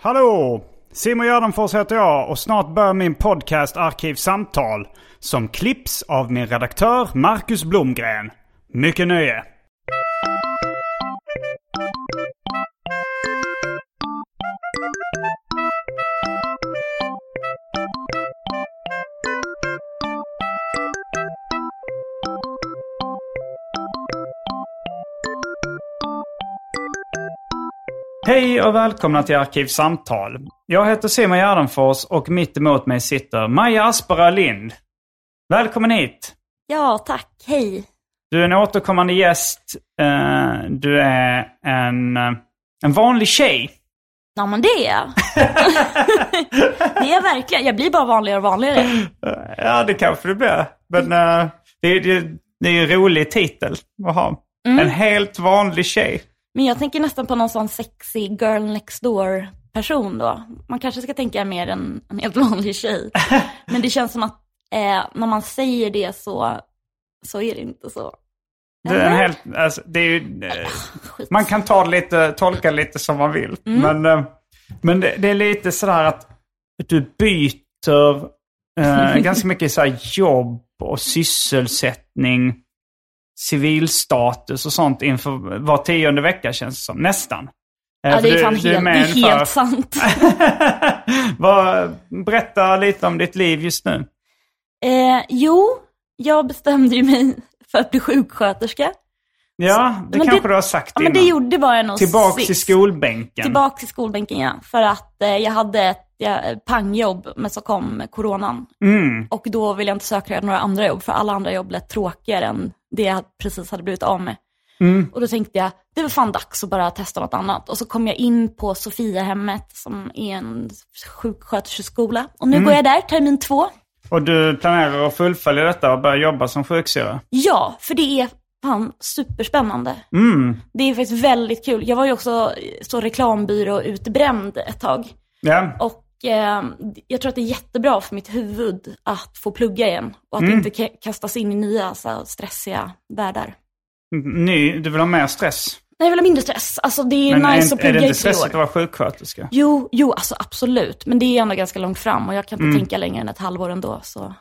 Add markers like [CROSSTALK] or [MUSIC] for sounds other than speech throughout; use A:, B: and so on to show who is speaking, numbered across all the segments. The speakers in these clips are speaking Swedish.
A: Hallå! Simon Gärdenfors heter jag och snart börjar min podcast Arkivsamtal som klipps av min redaktör Marcus Blomgren. Mycket nöje! Hej och välkomna till Arkivsamtal. Jag heter Simon Gärdenfors och mitt emot mig sitter Maja Aspera Lind. Välkommen hit!
B: Ja, tack. Hej.
A: Du är en återkommande gäst. Eh, Du är en, eh, en vanlig tjej.
B: Ja, men det är
A: [LAUGHS]
B: jag. det är jag verkligen. Jag blir bara vanligare och vanligare.
A: Ja, det kanske du blir. Men eh, det, är- det, är- det är ju en rolig titel att ha.
B: Mm.
A: En helt vanlig tjej.
B: Men jag tänker nästan på någon sån sexy girl next door person då. Man kanske ska tänka mer en, en helt vanlig tjej. Men det känns som att eh, när man säger det så, så är det inte så.
A: Det är en helt, alltså, det är ju, eh,
B: Skit.
A: man kan ta det lite, tolka det lite som man vill.
B: Mm.
A: Men, eh, men det, det är lite sådär att du byter
B: [LAUGHS]
A: eh, ganska mycket så här jobb och sysselsättning, civilstatus och sånt inför var tionde vecka känns det som. Nästan. Eh,
B: ja,
A: för
B: det är
A: du-
B: fan
A: du
B: helt, det
A: med
B: är
A: ungefär-
B: helt sant.
A: [LAUGHS] Vad- berätta lite om ditt liv just nu.
B: Eh, jo, jag bestämde ju mig för att bli sjuksköterska.
A: Ja, det
B: men
A: kanske
B: det-
A: du har sagt
B: Ja, men
A: innan.
B: det gjorde var jag nog
A: Tillbaks
B: sist.
A: till skolbänken.
B: Tillbaks till skolbänken, ja. För att eh, jag hade ett ja, pangjobb, men så kom coronan.
A: Mm.
B: Och då ville jag inte söka några andra jobb, för alla andra jobb lät tråkigare än det jag precis hade blivit av med. Och då tänkte jag, det var fan dags att bara testa något annat. Och så kom jag in på Sofiahemmet, som är en sjuksköterskeskola. Och nu går jag där, termin två.
A: Och du planerar att fullfölja detta och börja jobba som sjuksyrra?
B: Ja, för det är fan superspännande. Det är faktiskt väldigt kul. Jag var ju också så reklambyråutbränd ett tag.
A: Ja.
B: Och eh, jag tror att det är jättebra för mitt huvud att få plugga igen. Och
A: Mm.
B: att inte ka- kastas in i nya så här, stressiga världar.
A: Ny, du vill ha mer stress?
B: Nej, jag vill ha mindre stress. Alltså det är
A: är,
B: nice
A: inte-
B: att
A: är det
B: plugga i
A: inte
B: tre
A: stressigt att
B: år.
A: vara sjuksköterska?
B: Jo, jo, alltså absolut. Men det är ändå ganska långt fram och jag
A: Mm.
B: kan inte tänka längre än ett halvår ändå. Så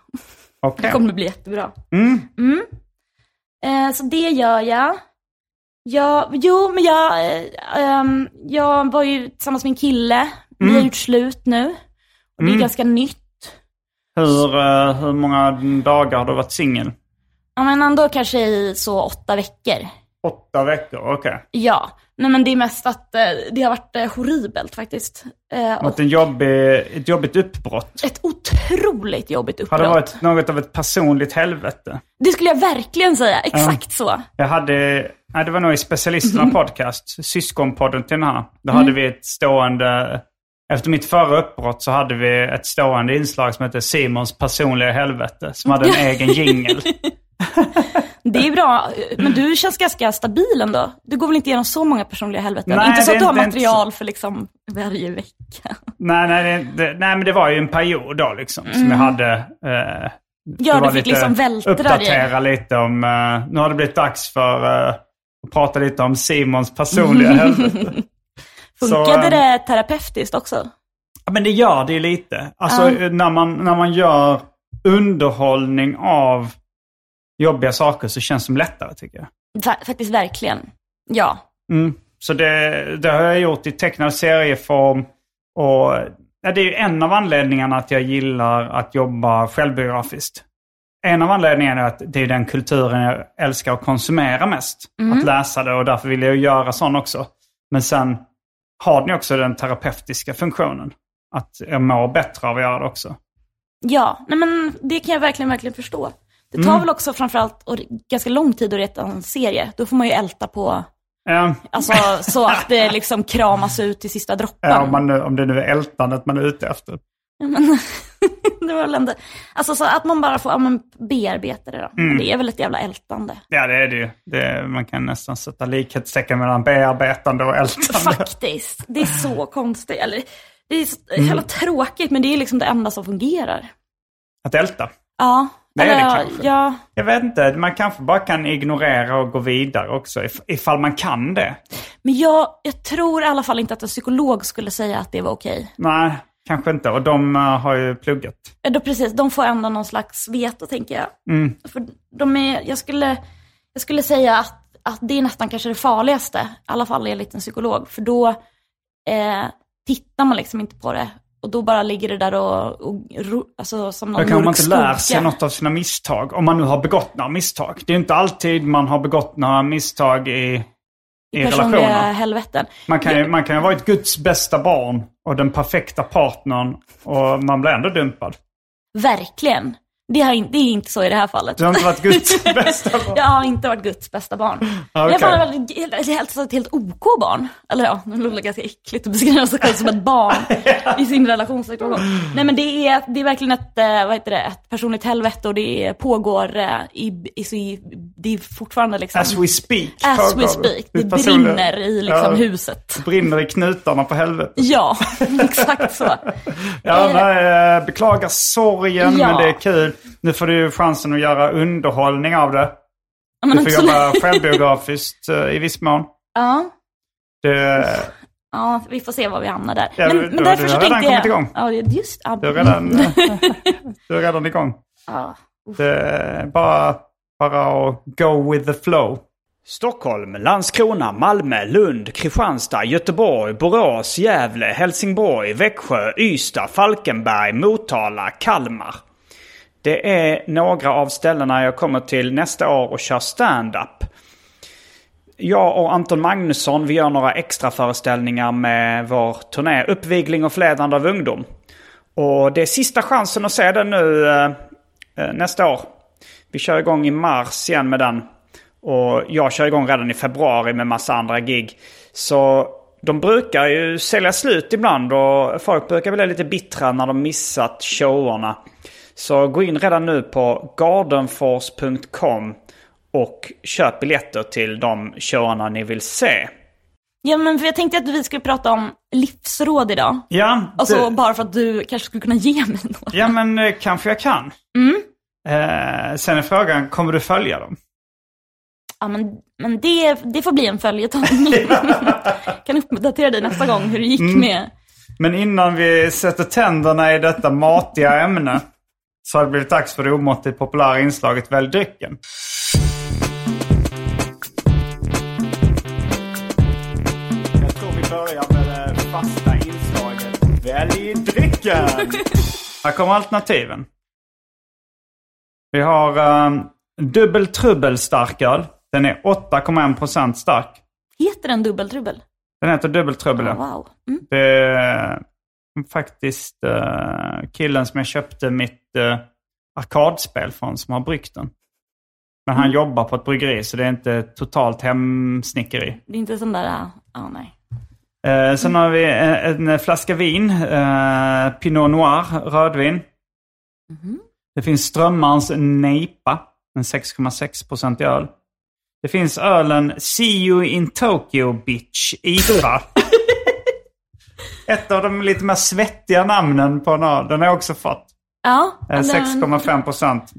A: Okej.
B: det kommer bli jättebra.
A: Mm.
B: Mm. Eh, så det gör jag. jag jo, men jag, eh, ehm, jag var ju tillsammans med en kille. Vi
A: Mm.
B: har gjort slut nu. Och det är ganska nytt.
A: Hur, eh, hur många dagar har du varit singel?
B: Ja, men ändå kanske i så åtta veckor.
A: Åtta veckor, okej.
B: Ja. Nej, men det är mest att eh, det har varit eh, horribelt faktiskt. Eh, och
A: Okay. En jobbig, ett jobbigt uppbrott.
B: ett otroligt jobbigt
A: Har
B: uppbrott.
A: det varit något av ett personligt helvete?
B: Det skulle jag verkligen säga. Exakt så.
A: Jag hade, nej, det var nog i specialisterna
B: [LAUGHS]
A: podcast, syskonpodden till den här. Då
B: Mm.
A: hade vi ett stående, efter mitt förra uppbrott så hade vi ett stående inslag som hette Simons personliga helvete, som hade
B: [LAUGHS]
A: en egen jingel.
B: Det är bra. Men du känns ganska stabil ändå. Du går väl inte igenom så många personliga helveten?
A: Nej,
B: inte så
A: det
B: att du har
A: är inte-
B: material för liksom varje vecka.
A: nej, nej, det, det, nej, men det var ju en period då liksom, som jag hade. Eh,
B: Mm. Ja,
A: det var
B: du fick liksom vältra dig.
A: Uppdatera lite om, eh, nu har det blivit dags för eh, att prata lite om
B: [LAUGHS]
A: Simons personliga helvete. Så,
B: Funkade
A: ehm,
B: det terapeutiskt också?
A: Ja, men det gör det ju lite. Alltså
B: Ja.
A: när, man, när man gör underhållning av jobbiga saker så känns det som lättare tycker jag.
B: Fa- faktiskt verkligen. Ja.
A: Mm. Så det, det har jag gjort i tecknad serieform. Och ja, det är ju en av anledningarna att jag gillar att jobba självbiografiskt. En av anledningarna är att det är den kulturen jag älskar att konsumera mest. Att läsa det och därför vill jag ju göra sån också. Men sen har den ju också den terapeutiska funktionen. Att jag mår bättre av att göra det också.
B: Ja, nej men det kan jag verkligen, verkligen förstå. Det
A: Mm.
B: tar väl också framförallt och ganska lång tid att reta en serie. Då får man ju älta på,
A: Ja, [LAUGHS]
B: alltså så att det liksom kramas ut till sista droppen.
A: ja, om, man nu, om det nu är ältandet man är ute efter.
B: Ja, [LAUGHS] men, [LAUGHS] det var väl ändå, alltså så att man bara får ja, men bearbeta det då. Men
A: Mm.
B: Det är väl ett jävla
A: [LAUGHS]
B: ältande.
A: Ja, det är det ju. Det, man kan nästan sätta likhetstecken mellan bearbetande och [LAUGHS] ältande.
B: Faktiskt. Det är så
A: [LAUGHS]
B: konstigt. Eller, det är så
A: Mm.
B: jävla tråkigt, men det är liksom det enda som fungerar.
A: Att älta.
B: Ja.
A: Det är det
B: Eller,
A: kanske.
B: ja,
A: Jag vet inte, man kanske bara kan ignorera och gå vidare också. if- Ifall man kan det.
B: men jag, jag tror i alla fall inte att en psykolog skulle säga att det var okej.
A: Nej, kanske inte. Och de eh, har ju pluggat.
B: Ja, Då precis, de får ändå någon slags veto tänker jag.
A: Mm.
B: För de är, jag, skulle, jag skulle säga att, att det är nästan kanske det farligaste, i alla fall enligt en psykolog. För då eh, tittar man liksom inte på det och då bara ligger det där och, och ro, alltså, som någon
A: Då kan man inte
B: mörk
A: lär sig
B: skugga.
A: något av sina misstag. Om man nu har begått några misstag. Det är ju inte alltid man har begått några misstag i, i
B: personliga
A: relationer.
B: helveten.
A: Man kan, ju, man kan ju vara ett Guds bästa barn och den perfekta partnern och man blir ändå dumpad.
B: Verkligen. Det, har in, det är inte så i det här fallet.
A: Du har inte
B: [LAUGHS]
A: varit Guds bästa barn.
B: Jag har inte varit Guds bästa barn.
A: Ja,
B: Jag
A: okej.
B: var väldigt, ett helt, ett helt OK barn. Eller ja, nu låter det ganska äckligt att beskriva sig själv som ett
A: [LAUGHS]
B: barn i sin relationssituation. Nej men det är, det är verkligen ett, eh, vad heter det, ett personligt helvete och det pågår eh, i, i, så i, det är fortfarande liksom...
A: As we speak.
B: as we
A: pågår.
B: speak. Det
A: Ditt personliga-
B: brinner i liksom
A: Ja,
B: huset.
A: Brinner i knutarna på helvete.
B: Ja, [LAUGHS] exakt så.
A: Ja,
B: Eh.
A: nej, eh, beklagar sorgen,
B: Ja.
A: men det är kul. Nu får du ju chansen att göra underhållning av det.
B: Ja,
A: Du
B: men
A: får
B: absolut.
A: jobba självbiografiskt eh, i viss mån.
B: [LAUGHS] Ja.
A: Det,
B: Ja, vi får se var vi hamnar där.
A: Ja,
B: men,
A: du-
B: men
A: du-
B: därför
A: du
B: så
A: har
B: tänkte
A: redan
B: jag...
A: kommit igång.
B: Ja, det- just... Ja,
A: du, är redan, eh, du är redan igång.
B: ja.
A: Det är bara, bara att go with the flow.
C: Stockholm, Landskrona, Malmö, Lund, Kristianstad, Göteborg, Borås, Gävle, Helsingborg, Växjö, Ystad, Falkenberg, Motala, Kalmar. Det är några av ställena jag kommer till nästa år och kör stand-up. Jag och Anton Magnusson vi gör några extra föreställningar med vår turné Uppvigling och flädande av ungdom. Och det är sista chansen att se den nu eh, eh, nästa år. Vi kör igång i mars igen med den. Och jag kör igång redan i februari med massa andra gig. Så de brukar ju sälja slut ibland och folk brukar bli lite bittra när de missat showarna. Så gå in redan nu på gardenfors.com och köp biljetter till de showarna ni vill se.
B: Ja, men för jag tänkte att vi skulle prata om livsråd idag.
A: Ja,
B: Alltså
A: det-
B: bara för att du kanske skulle kunna ge mig några.
A: ja men eh, kanske jag kan. Eh, sen är frågan, kommer du följa dem?
B: Ja, men, men det, det får bli en
A: [LAUGHS]
B: följetong. kan uppdatera dig nästa gång hur det gick
A: Mm.
B: med...
A: Men innan vi sätter tänderna i detta matiga ämne så har det blivit dags för det omåttligt populära inslaget Välj drycken. Jag tror vi börjar med det fasta inslaget Välj drycken! Här kommer alternativen. Vi har um, dubbel trubbel starköl. Den är 8,1% stark.
B: Heter den dubbeltrubbel?
A: Den heter dubbel trubbel. ja.
B: Wow. Mm.
A: Det är faktiskt eh, killen som jag köpte mitt eh, arkadspel från som har bryggt den. Men han jobbar på ett bryggeri så det är inte totalt hemsnickeri.
B: Det är inte sån där... Ja, ah, nej.
A: Eh, sen har vi en, en flaska vin. Eh, Pinot Noir, rödvin. Det finns Strömmans Neipa, en 6,6 i öl. Det finns ölen See You In Tokyo Bitch, IPA. Ett av de lite mer svettiga namnen på en öl. Den har jag också fått.
B: Ja,
A: Eh,
B: den-
A: 6,5 procent.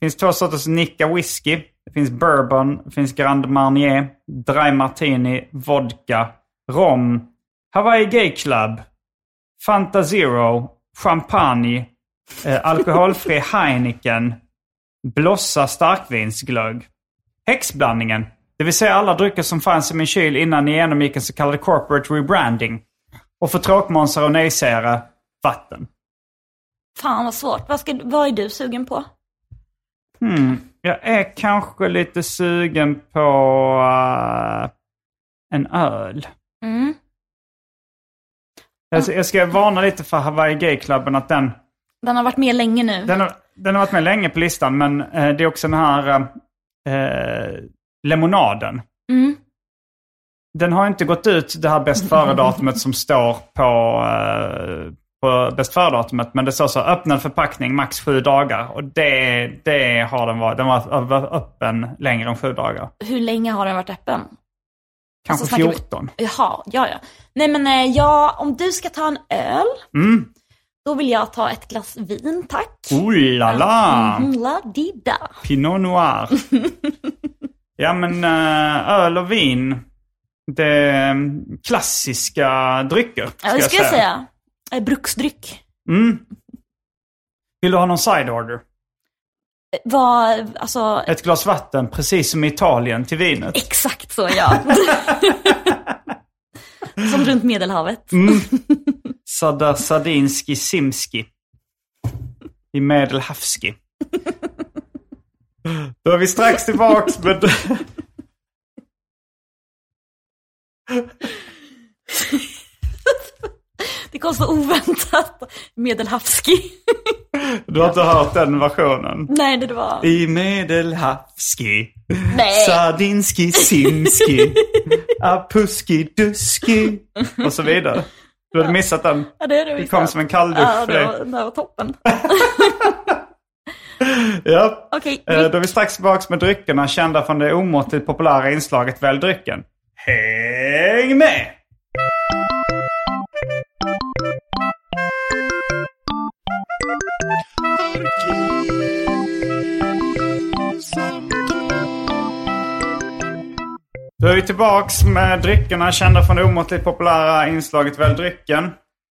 A: Det finns två sorters Nicka whisky. Det finns bourbon, det finns Grand Marnier, Dry Martini, vodka, rom, Hawaii Gay Club, Fanta Zero, champagne, eh, alkoholfri
B: [LAUGHS]
A: Heineken, Blossa starkvinsglögg. Häxblandningen. Det vill säga alla drycker som fanns i min kyl innan ni genomgick en så kallad corporate rebranding. Och för tråkmånsar och nejsägare, vatten.
B: Fan vad svårt. Vad, ska, vad är du sugen på?
A: Mm. Jag är kanske lite sugen på eh, en öl.
B: Mm.
A: Jag, jag ska varna lite för Hawaii Gay-klubben att den,
B: Den har varit med länge nu.
A: den, har, den har varit med länge på listan men eh, det är också den här eh, eh, lemonaden.
B: Mm.
A: Den har inte gått ut det här bäst före-datumet som står på, eh, på bäst före-datumet. Men det står så öppnad förpackning max sju dagar. Och det, det har den varit. Den var var öppen längre än sju dagar.
B: Hur länge har den varit öppen?
A: Kanske
B: Alltså, snackar vi-
A: 14.
B: Jaha, ja ja. Nej men eh, ja, om du ska ta en öl,
A: Mm.
B: då vill jag ta ett glas vin tack.
A: Oj la la!
B: Mm, la di da. [LAUGHS]
A: Pinot Noir. ja men eh, öl och vin. Det är mm, klassiska drycker.
B: Ja, det skulle jag säga. Eh, Bruksdryck.
A: Mm. Vill du ha någon side order?
B: Eh, Vad, alltså,
A: Ett glas vatten, precis som i Italien, till vinet.
B: exakt så ja.
A: [LAUGHS]
B: Som runt Medelhavet.
A: Mm. Sada Sadinski Simski. I Medelhavski. Då är vi strax tillbaks med...
B: Det kom så oväntat. Medelhavski.
A: [LAUGHS] Du har inte hört den versionen.
B: [LAUGHS] Nej, det var...
A: I Medelhavski.
B: Nej.
A: Sadinski Simski. Apuski Duski. Och så vidare. Du hade missat den.
B: Ja, det, är det,
A: Det
B: visst.
A: kom som en kalldusch
B: Ja,
A: för
B: det
A: dig.
B: var, det var
A: [LAUGHS]
B: toppen.
A: Ja.
B: Okej,
A: Eh, Då är vi strax tillbaka med dryckerna kända från det omåttligt populära inslaget Välj drycken. Häng med! Då är vi tillbaks med dryckerna kända från det omåttligt populära inslaget Välj drycken.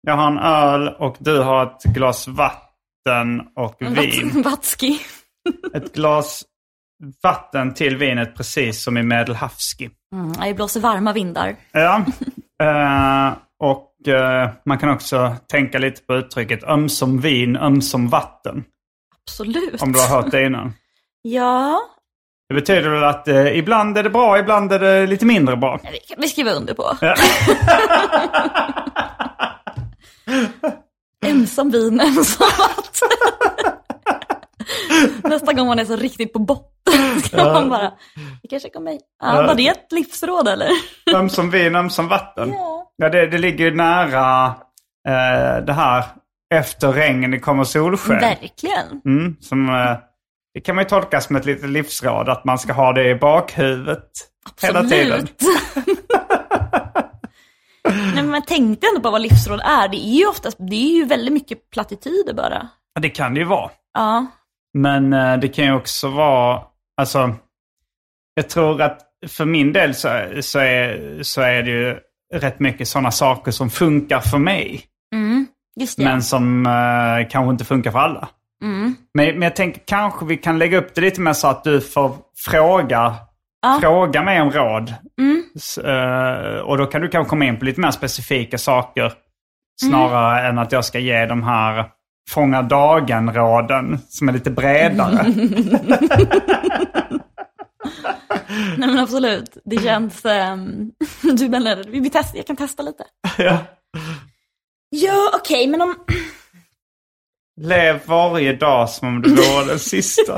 A: Jag har en öl och du har ett glas vatten och vin
B: Vats- Vatski.
A: ett glas vatten till vinet precis som i Medelhavski.
B: Mm, det blåser varma vindar.
A: Ja. Eh, och eh, man kan också tänka lite på uttrycket ömsom vin, ömsom vatten.
B: Absolut.
A: Om du har hört det innan.
B: Ja,
A: Det betyder väl att eh, ibland är det bra, ibland är det lite mindre bra.
B: det kan vi skriva under på. [LAUGHS] ömsom vin, ömsom vatten. [LAUGHS] Nästa gång man är så riktigt på botten [LAUGHS] ska man bara, det kanske kommer mig. Ja, var det ett livsråd eller?
A: Ömsom vin, ömsom vatten.
B: Ja.
A: Ja, det, det ligger ju nära eh, det här efter regn kommer solsken.
B: Verkligen.
A: Mm, som, eh, det kan man ju tolka som ett litet livsråd, att man ska ha det i bakhuvudet hela tiden.
B: Absolut. [LAUGHS] Nej, men tänkte ändå på vad livsråd är. Det är ju oftast, det är ju väldigt mycket plattityder bara.
A: Ja, det kan det ju vara.
B: Ja.
A: Men eh, det kan ju också vara, alltså, jag tror att för min del så, så, är, så är det ju rätt mycket sådana saker som funkar för mig.
B: Mm. Just det.
A: Men som eh, kanske inte funkar för alla.
B: Mm.
A: Men, men jag tänker kanske vi kan lägga upp det lite mer så att du får fråga,
B: Ja. Mm.
A: fråga mig om råd. S- eh, och då kan du kanske komma in på lite mer specifika saker. Snarare
B: Mm.
A: än att jag ska ge de här fånga dagen-råden som är lite bredare.
B: [LAUGHS] Nej men absolut, det känns... ehm, [LAUGHS] du menar, vi, vi test, jag kan testa lite.
A: ja.
B: Ja okej, men om...
A: Lev varje dag som om det vore
B: [LAUGHS]
A: den sista.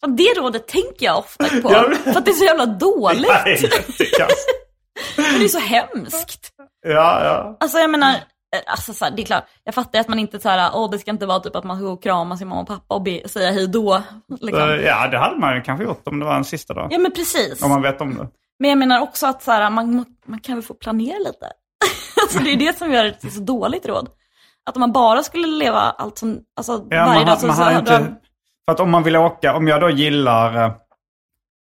B: ja, Det rådet tänker jag ofta på.
A: Ja, men-
B: För att det är så jävla dåligt.
A: Nej, jättekast.
B: Men det är så hemskt.
A: Ja, ja.
B: Alltså jag menar, eh, alltså så här, det är klart, jag fattar att man inte så här, åh det ska inte vara typ att man ska gå och krama sin mamma och pappa och be, säga hej då.
A: Eh,
B: Liksom.
A: Ja, det hade man ju kanske gjort om det var en sista dag.
B: Ja men precis.
A: Om man vet om det.
B: Men jag menar också att så här, man, må- man kan väl få planera lite. [LAUGHS] alltså det är det som gör det till så dåligt råd. Att om man bara skulle leva allt som, alltså
A: Ja,
B: varje
A: man,
B: dag
A: har-
B: så,
A: man
B: så
A: har
B: hade
A: inte,
B: man-
A: För att om man vill åka, om jag då gillar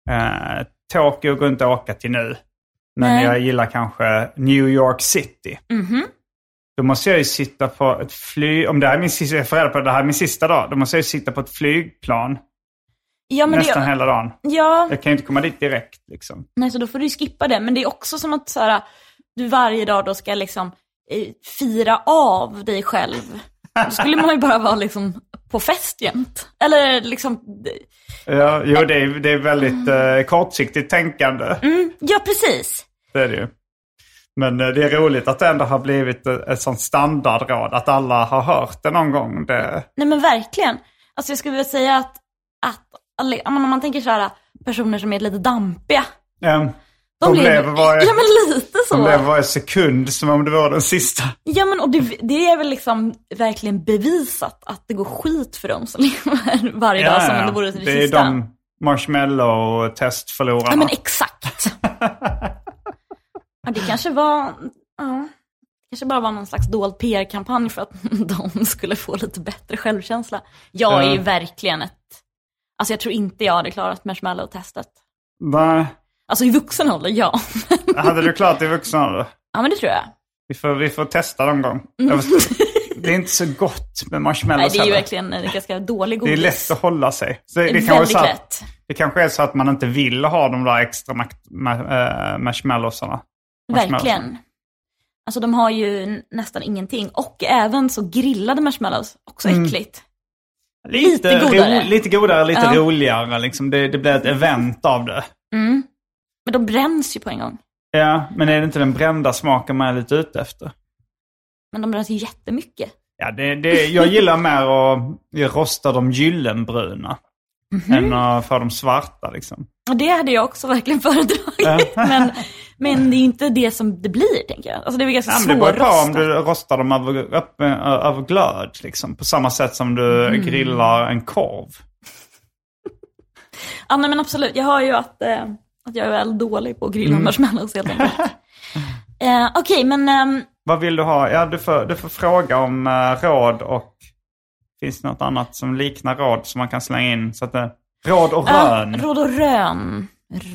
A: eh, eh, Tokyo går inte att åka till nu. Men
B: Nej. Mhm.
A: jag gillar kanske New York City. Då måste jag ju sitta på ett flyg, om det här är min sista, jag får reda på att det här är min sista dag, då måste jag ju sitta på ett flygplan
B: Ja, men
A: nästan
B: det,
A: hela dagen.
B: ja,
A: Jag kan ju inte komma dit direkt liksom.
B: nej, så då får du ju skippa det. Men det är också som att så här, du varje dag då ska liksom eh, fira av dig själv. Då skulle man ju bara vara liksom på fest jämt. Eller liksom,
A: Ja, jo, det är, det är väldigt eh, kortsiktigt tänkande.
B: mm, ja precis.
A: Det är det ju. Men eh, det är roligt att det ändå har blivit eh, ett sånt standardråd. Att alla har hört det någon gång. Det,
B: Nej men verkligen. Alltså jag skulle vilja säga att, att alle- om man- om man tänker så här, personer som är lite dampiga.
A: Ehm, de, lever varje,
B: Ja men lite så.
A: de lever varje sekund som om det vore den sista.
B: Ja men och det, det är väl liksom verkligen bevisat att det går skit för dem som [LAUGHS] lever varje dag som om det vore sin
A: det är
B: sista.
A: de marshmallow-testförlorarna.
B: Ja men
A: [LAUGHS]
B: exakt. ja, det kanske var, ja, kanske bara var någon slags dold PR-kampanj för att [LAUGHS] de skulle få lite bättre självkänsla. Jag är ju
A: Ja.
B: verkligen ett, alltså jag tror inte jag hade klarat marshmallow-testet.
A: Nej,
B: Alltså i vuxen ålder, ja. [LAUGHS]
A: hade du klart i vuxen ålder?
B: ja men det tror jag.
A: Vi får, vi får testa någon gång. Jag förstår- Det är inte så gott med marshmallows
B: Mm. Nej, det är ju
A: heller.
B: verkligen en ganska dålig
A: Det
B: godis.
A: är lätt att hålla sig. Så det,
B: Det är
A: kanske är
B: väldigt
A: så att,
B: lätt.
A: det kanske är så att man inte vill ha de där extra mak- ma- eh, marshmallowsarna. Marshmallows.
B: Verkligen. Alltså de har ju n- nästan ingenting. Och även så grillade marshmallows, också
A: Mm.
B: äckligt. Lite godare.
A: lite godare, lite
B: Ja.
A: roligare. Liksom. Det, det blir ett event av det.
B: Mm. Men de bränns ju på en gång.
A: Ja, men är det inte den brända smaken man är lite ute efter?
B: Men de bränns ju jättemycket.
A: Ja, det, det, jag gillar mer att rosta de gyllenbruna
B: Mhm.
A: än att få dem svarta. Liksom.
B: Och det hade jag också verkligen [LAUGHS] föredragit. men, men det är ju inte det som det blir, tänker jag. Alltså det är väl ganska
A: Ja, men det beror på om
B: svårrostat.
A: du rostar dem över, upp, ö- över glöd, liksom. på samma sätt som du
B: Mm.
A: grillar en korv.
B: Ja, nej, men absolut. Jag hör ju att, eh, att jag är väl dålig på att grilla
A: Mm.
B: marshmallows helt
A: [LAUGHS]
B: enkelt. eh, Okej, men ehm,
A: Vad vill du ha? Ja, du får, du får fråga om eh, råd och finns det något annat som liknar råd som man kan slänga in? Så att det, råd och
B: Ja,
A: rön.
B: Råd och rön.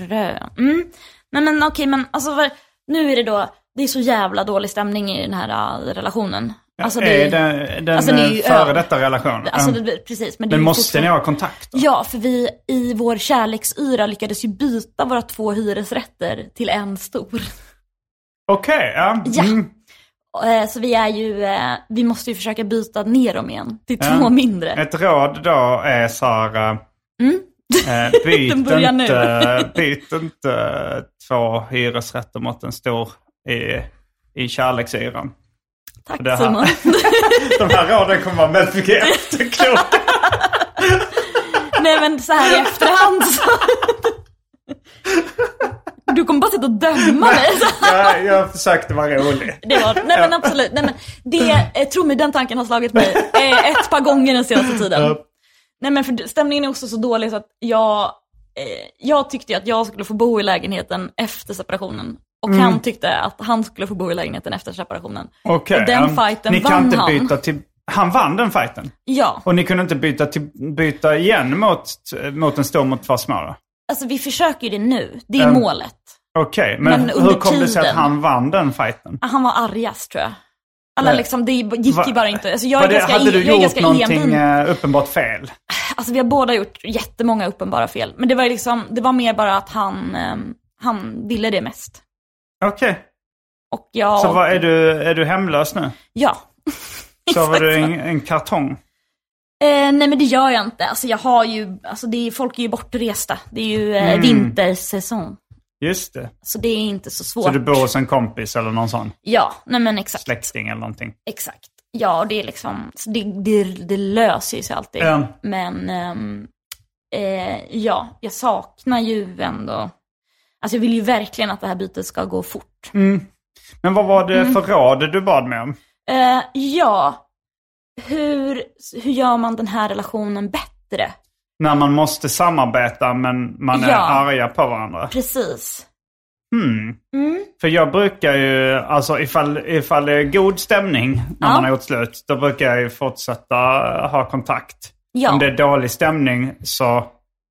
B: Rön. Mm. Nej men okej, men alltså vad- nu är det då, det är så jävla dålig stämning i den här eh, relationen. Alltså det,
A: är den, den eh,
B: alltså, det är ju
A: före
B: öl.
A: detta relationen.
B: alltså
A: Ja.
B: det, precis. Men, det är
A: men
B: ju
A: måste ni
B: fortfarande-
A: ha kontakt? Då?
B: Ja, för vi i vår kärleksyra lyckades ju byta våra två hyresrätter till en stor.
A: Okej, ja.
B: Ja.
A: Mm.
B: Eh, Så vi är ju, eh, vi måste ju försöka byta ner dem igen till
A: Ja.
B: två mindre. Mm.
A: Ett råd då är så här, eh,
B: [LAUGHS]
A: eh, byt,
B: Den börjar nu.
A: inte, [LAUGHS] byt inte eh, två hyresrätter mot en stor i, i kärleksyran.
B: Tack
A: det här-
B: Simon. [LAUGHS]
A: De här råden kommer vara väldigt mycket efterkloka.
B: Nej men så här i efterhand
A: [LAUGHS]
B: så... Du kommer bara sitta och döma mig.
A: Jag, jag försökte vara rolig.
B: Det var, nej men absolut. Nej, men det, eh, tro mig, den tanken har slagit mig eh, ett par gånger den senaste tiden. Nej men för stämningen är också så dålig så att jag, eh, jag tyckte ju att jag skulle få bo i lägenheten efter separationen. Och
A: Mm.
B: han tyckte att han skulle få bo i lägenheten efter separationen.
A: Okej,
B: och den
A: ehm,
B: fighten
A: ni kan
B: vann
A: inte
B: han.
A: byta till... Han vann den fighten.
B: Ja,
A: Och ni kunde inte byta, till, byta igen mot, mot en stor mot två små då?
B: alltså vi försöker ju det nu. Det är
A: Ehm.
B: målet.
A: Okej, men,
B: Men under
A: hur kom det sig att
B: tiden-
A: han vann den fighten?
B: Ah, Han var argast tror jag. Alla
A: Nej.
B: liksom, det gick
A: Va-
B: ju bara inte. Alltså, jag
A: Var
B: är
A: det,
B: ganska,
A: hade du
B: jag är
A: gjort
B: ganska
A: någonting
B: envis.
A: eh, uppenbart fel?
B: Alltså vi har båda gjort jättemånga uppenbara fel. Men det var ju liksom, det var mer bara att han, ehm, han ville det mest.
A: Okej,
B: Och jag...
A: så vad, är, du, är du hemlös nu?
B: Ja.
A: Sover du i en, en kartong?
B: [LAUGHS] Eh, nej men det gör jag inte. Alltså jag har ju, alltså det är, folk är ju bortresta. Det är ju
A: Mm.
B: eh, vintersäsong.
A: Just det.
B: Så det är inte så svårt.
A: Så du bor hos en kompis eller någon sån
B: Ja, nej men exakt.
A: släkting eller någonting?
B: Exakt. Ja, och det är liksom, så det, det, det löser ju sig alltid.
A: Ja.
B: Men ehm, eh, ja, jag saknar ju ändå, alltså jag vill ju verkligen att det här bytet ska gå fort.
A: Men vad var
B: Mm.
A: det för råd du bad mig om?
B: Eh, ja, hur, hur gör man den här relationen bättre?
A: När man måste samarbeta men man är
B: Ja.
A: arga på varandra.
B: Precis.
A: För jag brukar ju, alltså ifall, ifall det är god stämning när
B: Ja.
A: man har gjort slut, då brukar jag ju fortsätta ha kontakt.
B: Ja.
A: Om det är dålig stämning så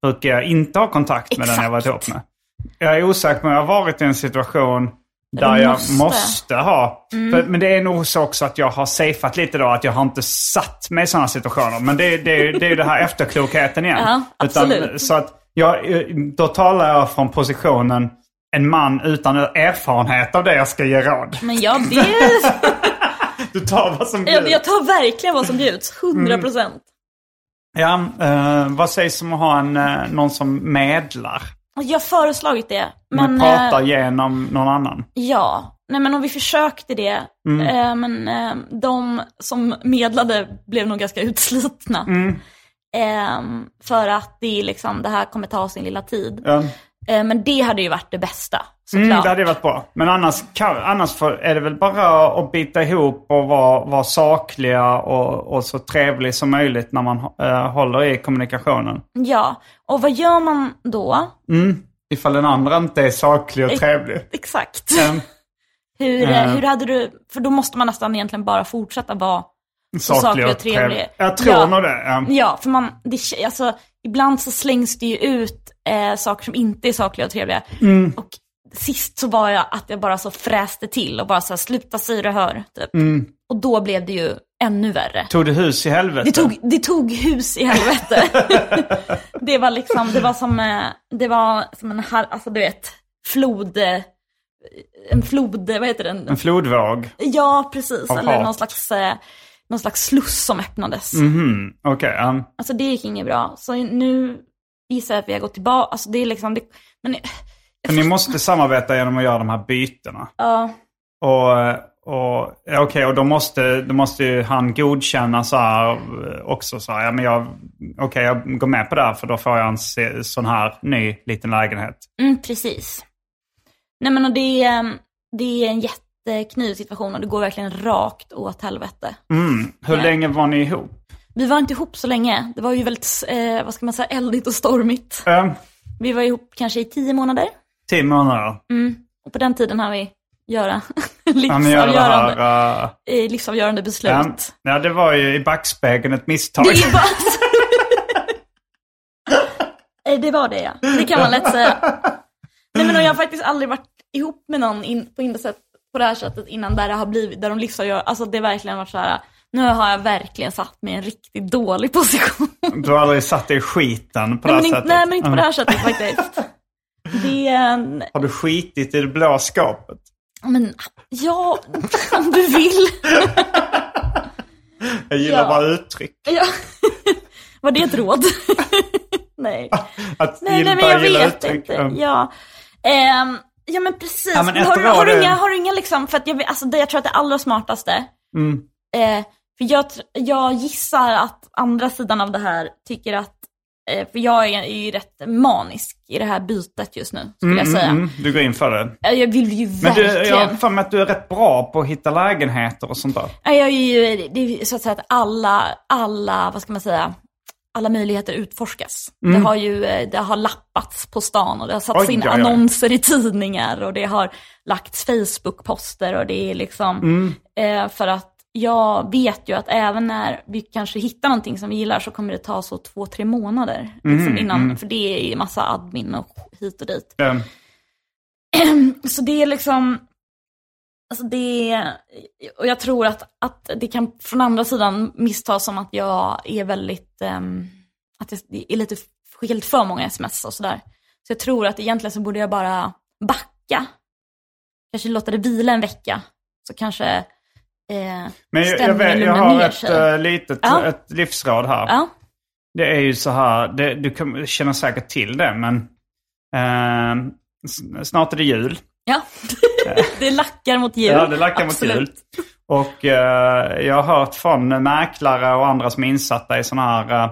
A: brukar jag inte ha kontakt med den jag varit ihop
B: Exakt.
A: med. Jag är osäker på om jag har varit i en situation Där jag
B: måste. Mm.
A: måste, ha. För, men det är nog så också att jag har safeat lite då. Att jag har inte satt mig i sådana situationer. Men det, det, är ju- det är ju den här efterklokheten igen.
B: [LAUGHS] Ja, absolut.
A: så att jag, då talar jag från positionen en man utan erfarenhet av det jag ska ge råd.
B: Men ja, det,
A: [LAUGHS] Du tar vad som
B: jag,
A: bjuds.
B: jag tar verkligen vad som bjuds.
A: Mm.
B: 100 procent.
A: Ja, eh, vad sägs om att ha en, eh, någon som medlar?
B: Jag har föreslagit det. Men,
A: Men pratar
B: eh,
A: genom någon annan.
B: ja. Nej men om vi försökte det.
A: Mm.
B: Eh, men eh, de som medlade blev nog ganska utslitna.
A: Mm.
B: Eh, för att det är liksom, det här kommer ta sin lilla tid.
A: Ja.
B: Eh, men det hade ju varit det bästa, såklart.
A: Mm, det hade ju varit bra. Men annars, kan, annars får- är det väl bara att bita ihop och vara, vara sakliga och, och så trevlig som möjligt när man eh, håller i kommunikationen.
B: Ja, och vad gör man då?
A: Ifall den andra inte är saklig
B: Eh,
A: och
B: [LAUGHS]
A: trevlig.
B: Exakt.
A: Mm,
B: Hur, eh, hur hade du, för då måste man nästan egentligen bara fortsätta vara
A: saklig,
B: saklig och
A: och trevlig.
B: trevlig.
A: Jag tror
B: Ja.
A: nog det. ja.
B: Ja, för man, det, k- alltså, ibland så slängs det ju ut eh, saker som inte är sakliga och trevliga. Och sist så var jag att jag bara så fräste till och bara så här, sluta säg det hör, typ. Och då blev det ju ännu värre.
A: Tog det hus i helvete?
B: Det tog, det tog hus i [LAUGHS] helvete. det var liksom, det var som, eh, det var som en, har- alltså du vet, flod, eh, en flod, vad heter den?
A: En flodvåg?
B: Ja, precis.
A: Av
B: Eller
A: hat.
B: någon slags, eh, någon slags sluss som öppnades.
A: Mhm, Okej. ja.
B: Alltså det gick inget bra. Så nu gissar jag att vi har gått tillbaka. Alltså det är liksom, det, men
A: För Ni måste samarbeta genom att göra de här bytena.
B: ja,
A: Och, och, ja, okej, och då, måste, då måste ju han godkänna så här eh, också. Så här, ja, men jag, okej, jag går med på det här för då får jag en se- sån här ny liten lägenhet.
B: mm, precis. Nej men och det, är, eh, det är en jätteknivig situation och det går verkligen rakt åt helvete.
A: Mm. Hur
B: Ja.
A: länge var ni ihop?
B: Vi var inte ihop så länge. Det var ju väldigt, eh, vad ska man säga, eldigt och stormigt.
A: Eh,
B: Vi var ihop kanske i tio månader.
A: tio månader.
B: Mm. Och på den tiden hann vi göra [LAUGHS]
A: Ja, ni gör det här,
B: livsavgörande,
A: eh,
B: eh, livsavgörande beslut.
A: ja. ja, det var ju i backspegeln ett misstag.
B: Det var, Eh, det var det ja. Det kan man lätt säga. Nej men och jag har faktiskt aldrig varit ihop med någon in, på, in- sätt, på det här sättet innan där det har blivit, där de livsavgör, alltså det har verkligen varit så här. Nu har jag verkligen satt mig i en riktigt dålig position.
A: Du har aldrig satt dig i skiten på
B: Nej
A: det här
B: men, inte,
A: sättet.
B: nej men inte på det
A: Mm.
B: här sättet faktiskt. Det är en,
A: Har du skitit i det blå skåpet?
B: men ja, [LAUGHS] om du vill.
A: Jag gillar
B: Ja.
A: bara uttryck.
B: Ja. Var det ett råd? [LAUGHS] nej.
A: Att
B: Nej,
A: gilla,
B: nej men jag
A: gilla
B: vet
A: uttryck.
B: inte.
A: Mm.
B: Ja. Ehm, ja men precis.
A: Ja, men
B: Men
A: ett
B: har, du-
A: bra
B: har, du
A: det-
B: inga, har du inga liksom, för att jag, vet- alltså, det, jag tror att det allra smartaste,
A: Mm.
B: eh, för jag, tr- jag gissar att andra sidan av det här tycker att, eh, för jag är, är ju rätt manisk i det här bytet just nu, skulle jag säga.
A: Mm, du går in för det.
B: Eh, Jag vill ju
A: Men du,
B: verkligen.
A: jag har för mig att du är rätt bra på att hitta lägenheter och sånt där.
B: Ja, Jag är ju, det är ju så att säga att alla, alla, vad ska man säga, alla möjligheter utforskas. Det har ju, eh, det har lappats på stan och det har satts
A: Mm. Oj,
B: in
A: oj, oj.
B: annonser i tidningar och det har lagts Facebook-poster och det är liksom,
A: Mm.
B: eh, för att jag vet ju att även när vi kanske hittar någonting som vi gillar så kommer det ta så två, tre månader. Liksom innan, För det är ju massa admin och hit och dit.
A: Mm.
B: Så det är liksom, alltså det är, och jag tror att, att det kan från andra sidan misstas som att jag är väldigt, ehm, att jag är lite, skickar lite för många sms och sådär. Så jag tror att egentligen så borde jag bara backa. Kanske låta det vila en vecka. Så kanske eh,
A: Men jag, jag,
B: stämningen
A: vet, jag
B: lugnar
A: har
B: ner
A: ett
B: sig.
A: äh, litet
B: Ja.
A: ett livsråd här.
B: ja,
A: Det är ju så här, det, du kommer- känner säkert till det, men eh, s- snart är det jul. [LAUGHS]
B: ja. det lackar mot jul.
A: Ja, det lackar mot
B: Absolut.
A: jul. Och eh, jag har hört från mäklare och andra som är insatta i sådana här eh,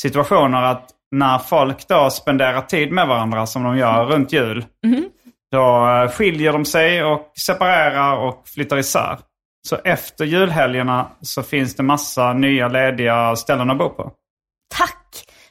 A: situationer att när folk då spenderar tid med varandra som de gör runt jul,
B: Mm-hmm.
A: då eh, skiljer de sig och separerar och flyttar isär. Så efter julhelgerna så finns det massa nya lediga ställen att bo på.
B: Tack!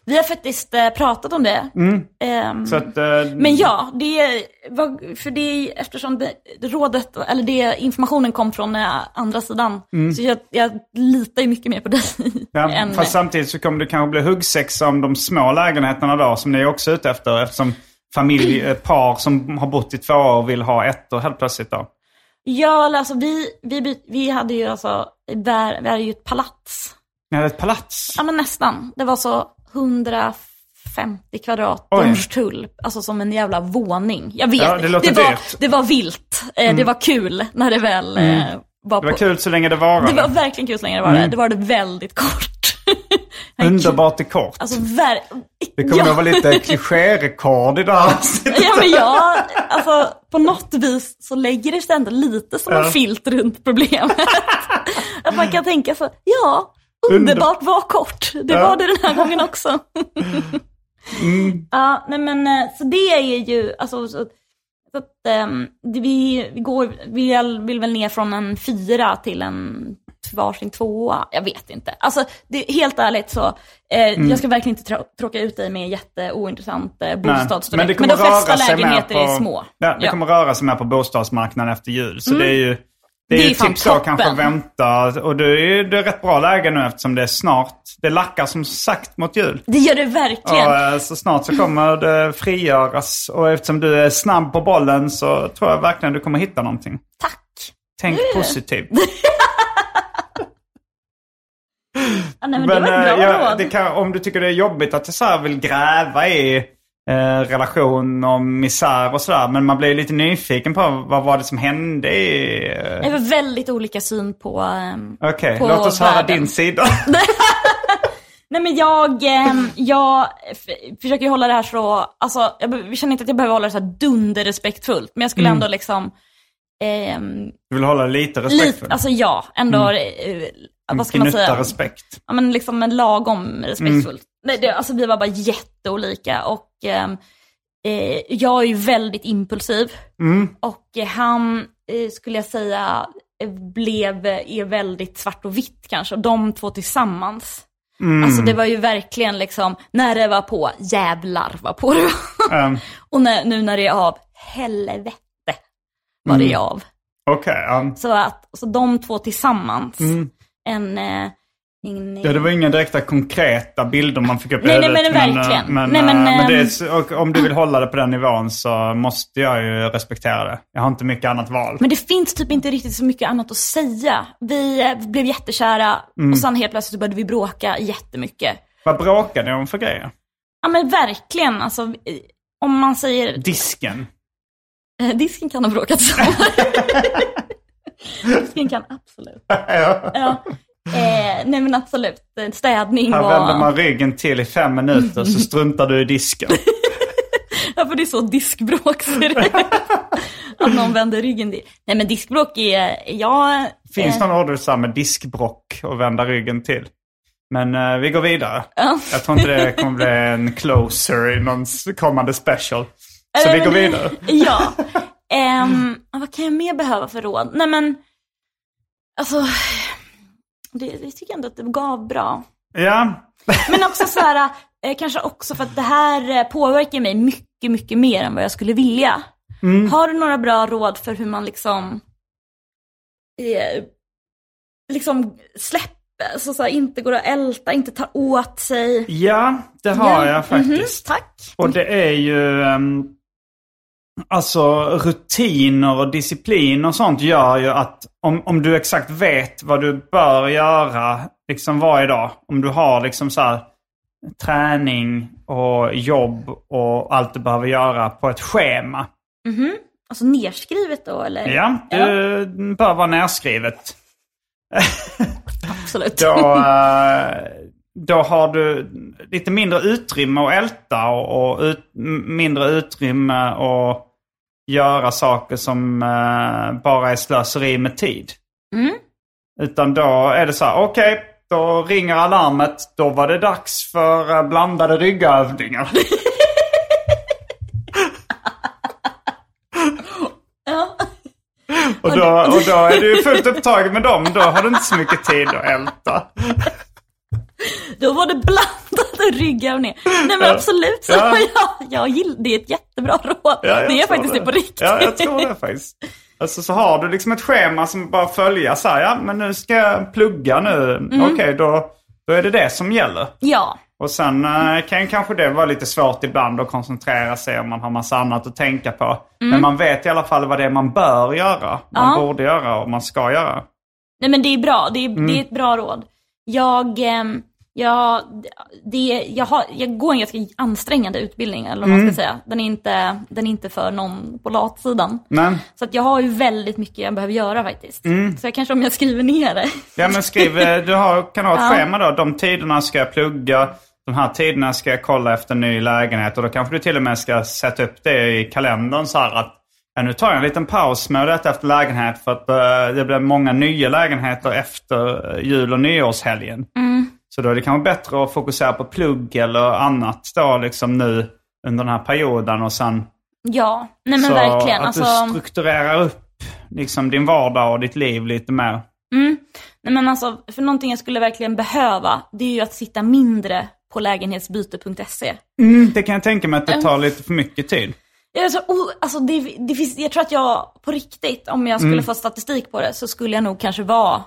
B: Vi har faktiskt eh, pratat om det. Ehm,
A: Mm. Så att, eh,
B: Men ja, det var, för det eftersom det, rådet, eller det informationen kom från eh, andra sidan, så jag, jag litar ju mycket mer på dig.
A: Mm.
B: [LAUGHS]
A: Ja,
B: än-
A: fast samtidigt så kommer det kanske bli huggsexa om de små lägenheterna då, som ni är också ute efter. Eftersom familj,
B: Mm.
A: eh, par som har bott i två år och vill ha ettor helt plötsligt då.
B: Ja, eller alltså vi, vi, by- vi hade ju alltså, där, vi hade ju ett palats.
A: Ni hade ett palats.
B: Ja men nästan. Det var så 150 kvadrat
A: Oj.
B: dörrstull. Alltså som en jävla våning. Jag vet,
A: Ja, det
B: det,
A: låter
B: var,
A: dyrt. Mm.
B: det var vilt. Eh, Det var kul när det väl eh, var
A: Det var
B: på.
A: kul Mm. så länge det varade.
B: Det var verkligen kul så länge det var det. Det var det väldigt kort. [LAUGHS]
A: Underbart i kort.
B: Alltså ver...
A: det kommer att
B: [LAUGHS]
A: vara lite klichérekord i det här avsnittet. [LAUGHS]
B: Ja men jag, alltså på något vis så lägger det sig ändå lite som en filt runt
A: [LAUGHS]
B: problemet. Att man kan tänka så, ja, underbart var kort. Det var det den här gången också.
A: Mm.
B: [LAUGHS] Ja, nej men eh, så det är ju, alltså så, så att ehm, det, vi, vi går, vi all- vill väl ner från en fyra till en varsin tvåa. Jag vet inte. Alltså det, helt ärligt så, eh, jag ska verkligen inte trå- tråka ut dig med jätteointressant eh,
A: Mm. Nej,
B: bostadsstorlek. Men, de flesta lägenheter är små. Mm.
A: Ja, det kommer röra sig mer på bostadsmarknaden efter jul. Så det är ju, det är
B: Det är
A: ju
B: fan
A: tips då
B: toppen.
A: kanske att vänta. Och det är ju det är rätt bra läge nu eftersom det är snart. Det lackar som sagt mot jul.
B: Det gör det verkligen.
A: Och, eh, så snart så kommer det frigöras. Och eftersom du är snabb på bollen så tror jag verkligen du kommer hitta någonting.
B: Tack.
A: Tänk
B: [LAUGHS]
A: positivt.
B: Ja, nej, men,
A: Men,
B: det var ett
A: eh,
B: bra
A: ja,
B: råd.
A: det kan, om du tycker det är jobbigt att jag så här vill gräva i eh, relation och misär och sådär. Men man blir ju lite nyfiken på vad var det som hände i... Eh,
B: Jag har väldigt olika syn på... ehm,
A: Okej,
B: på
A: låt oss höra
B: världen.
A: din sida. [LAUGHS]
B: Nej men jag, ehm, jag f- försöker ju hålla det här så, alltså jag be- jag känner inte att jag behöver hålla det så här dunderrespektfullt. Men jag skulle ändå liksom, ehm,
A: Du vill hålla lite respekt för
B: lite,
A: det.
B: alltså ja, ändå, eh, vad ska man
A: Gnutta
B: säga?
A: respekt.
B: ja, men liksom en lagom respektfullt. Nej, det, alltså vi var bara jätteolika och ehm, eh, jag är ju väldigt impulsiv.
A: Mm.
B: Och eh, han, eh, skulle jag säga, eh, blev, är väldigt svart och vitt kanske. Och de två tillsammans.
A: Mm.
B: Alltså det var ju verkligen liksom, när det var på, jävlar vad på det var. [LAUGHS]
A: Um,
B: och när, nu när det är av, helvete vad
A: Mm.
B: det är av.
A: Okej, ja.
B: Så att, så de två tillsammans, en, eh, en,
A: Mm. ja. Det var inga direkta konkreta bilder man fick upp i
B: Nej, nej,
A: huvudet,
B: men
A: eh,
B: verkligen.
A: Men,
B: Nej,
A: eh,
B: men,
A: men det är,
B: ehm,
A: så- och om du vill hålla det på den nivån så måste jag ju respektera det. Jag har inte mycket annat val.
B: Men det finns typ inte riktigt så mycket annat att säga. Vi eh, blev jättekära
A: Mm.
B: och sen helt plötsligt började vi bråka jättemycket.
A: Vad bråkar ni om för grejer?
B: Ja men verkligen alltså. eh, Om man säger, [LAUGHS]
A: Disken.
B: eh, disken kan ha bråkat
A: [LAUGHS]
B: sönder. disken kan absolut. Ja. Eh, nej men absolut, Eh, städning
A: Här vänder
B: var...
A: man ryggen till i fem minuter så struntar du i disken.
B: [LAUGHS] Ja för det är så diskbråk ser det
A: [LAUGHS]
B: ut. Att någon vänder ryggen till. Nej men diskbråk är, eh, jag...
A: Finns någon order så här med diskbrock och vända ryggen till? Men eh, vi går vidare. Jag tror inte det kommer bli en closer i någon s- kommande special. Så vi går vidare.
B: [LAUGHS] Ja. Ehm, vad kan jag mer behöva för råd? Nej men, alltså, det, jag tycker ändå att det gav bra.
A: Ja,
B: Men också så här, eh, kanske också för att det här eh, påverkar mig mycket, mycket mer än vad jag skulle vilja.
A: Mm.
B: Har du några bra råd för hur man liksom, eh, liksom släpper, så, så här, inte går att älta, inte tar åt sig?
A: ja det har
B: Ja,
A: jag
B: mhm,
A: faktiskt.
B: tack.
A: Och det är ju... ehm, alltså rutiner och disciplin och sånt gör ju att om, om du exakt vet vad du bör göra liksom varje dag. Om du har liksom så här träning och jobb och allt du behöver göra på ett schema.
B: Alltså nerskrivet då eller?
A: Ja, eh, det bör vara nerskrivet. [LAUGHS]
B: Absolut.
A: Då, eh, då har du lite mindre utrymme att älta och, och ut, m- mindre utrymme att göra saker som eh, bara är slöseri med tid. Utan då är det så här, okej, då ringer alarmet. Då var det dags för eh, blandade ryggövningar.
B: Ja.
A: Och då, och då är du fullt upptagen med dem. Då har du inte så mycket tid att älta.
B: Då var det blandade [LAUGHS] ryggar och ner. Nej men absolut, så [LAUGHS]
A: Ja.
B: jag, jag gillar, det är ett jättebra [LAUGHS] råd.
A: Ja, jag
B: det är
A: tror
B: faktiskt det. på riktigt.
A: Ja, jag tror det faktiskt. Alltså så har du liksom ett schema som bara följer
B: Mm.
A: så här, ja men nu ska jag plugga nu. Okej, då, då är det det som gäller.
B: [LAUGHS] Ja,
A: Och sen eh, kan ju kanske det vara lite svårt ibland att koncentrera sig om man har massa annat att tänka på. Men man vet i alla fall vad det är man bör göra, man
B: Mm. Ja.
A: borde göra och man ska göra.
B: Nej men det är bra, det är, det
A: Mm.
B: är ett bra råd. Jag, ehm, jag, det, jag, har, jag går en ganska ansträngande utbildning, eller vad man
A: Mm.
B: ska säga. Den är inte, den är inte för någon på latsidan.
A: Men,
B: Så att jag har ju väldigt mycket jag behöver göra faktiskt.
A: Mm.
B: Så jag kanske om jag skriver ner det. [LAUGHS]
A: ja, men skriv, eh, du har, kan ha ett
B: Ja.
A: schema då. De tiderna ska jag plugga, de här tiderna ska jag kolla efter en ny lägenhet. Och då kanske du till och med ska sätta upp det i kalendern så här att ja, nu tar jag en liten paus med att leta efter lägenhet för att eh, det blir många nya lägenheter efter eh, jul och nyårshelgen.
B: Mm.
A: Så då är det kanske bättre att fokusera på plugg eller annat då liksom nu under den här perioden och sen
B: Ja, nej men
A: så
B: verkligen.
A: att
B: Alltså,
A: du strukturerar upp liksom din vardag och ditt liv lite mer.
B: nej men alltså, för någonting jag skulle verkligen behöva, det är ju att sitta mindre på lägenhetsbyte.se.
A: Det kan jag tänka mig att det tar lite för mycket tid.
B: Jag, är så, oh, alltså det, det finns, jag tror att jag på riktigt, om jag
A: Mm.
B: skulle få statistik på det, så skulle jag nog kanske vara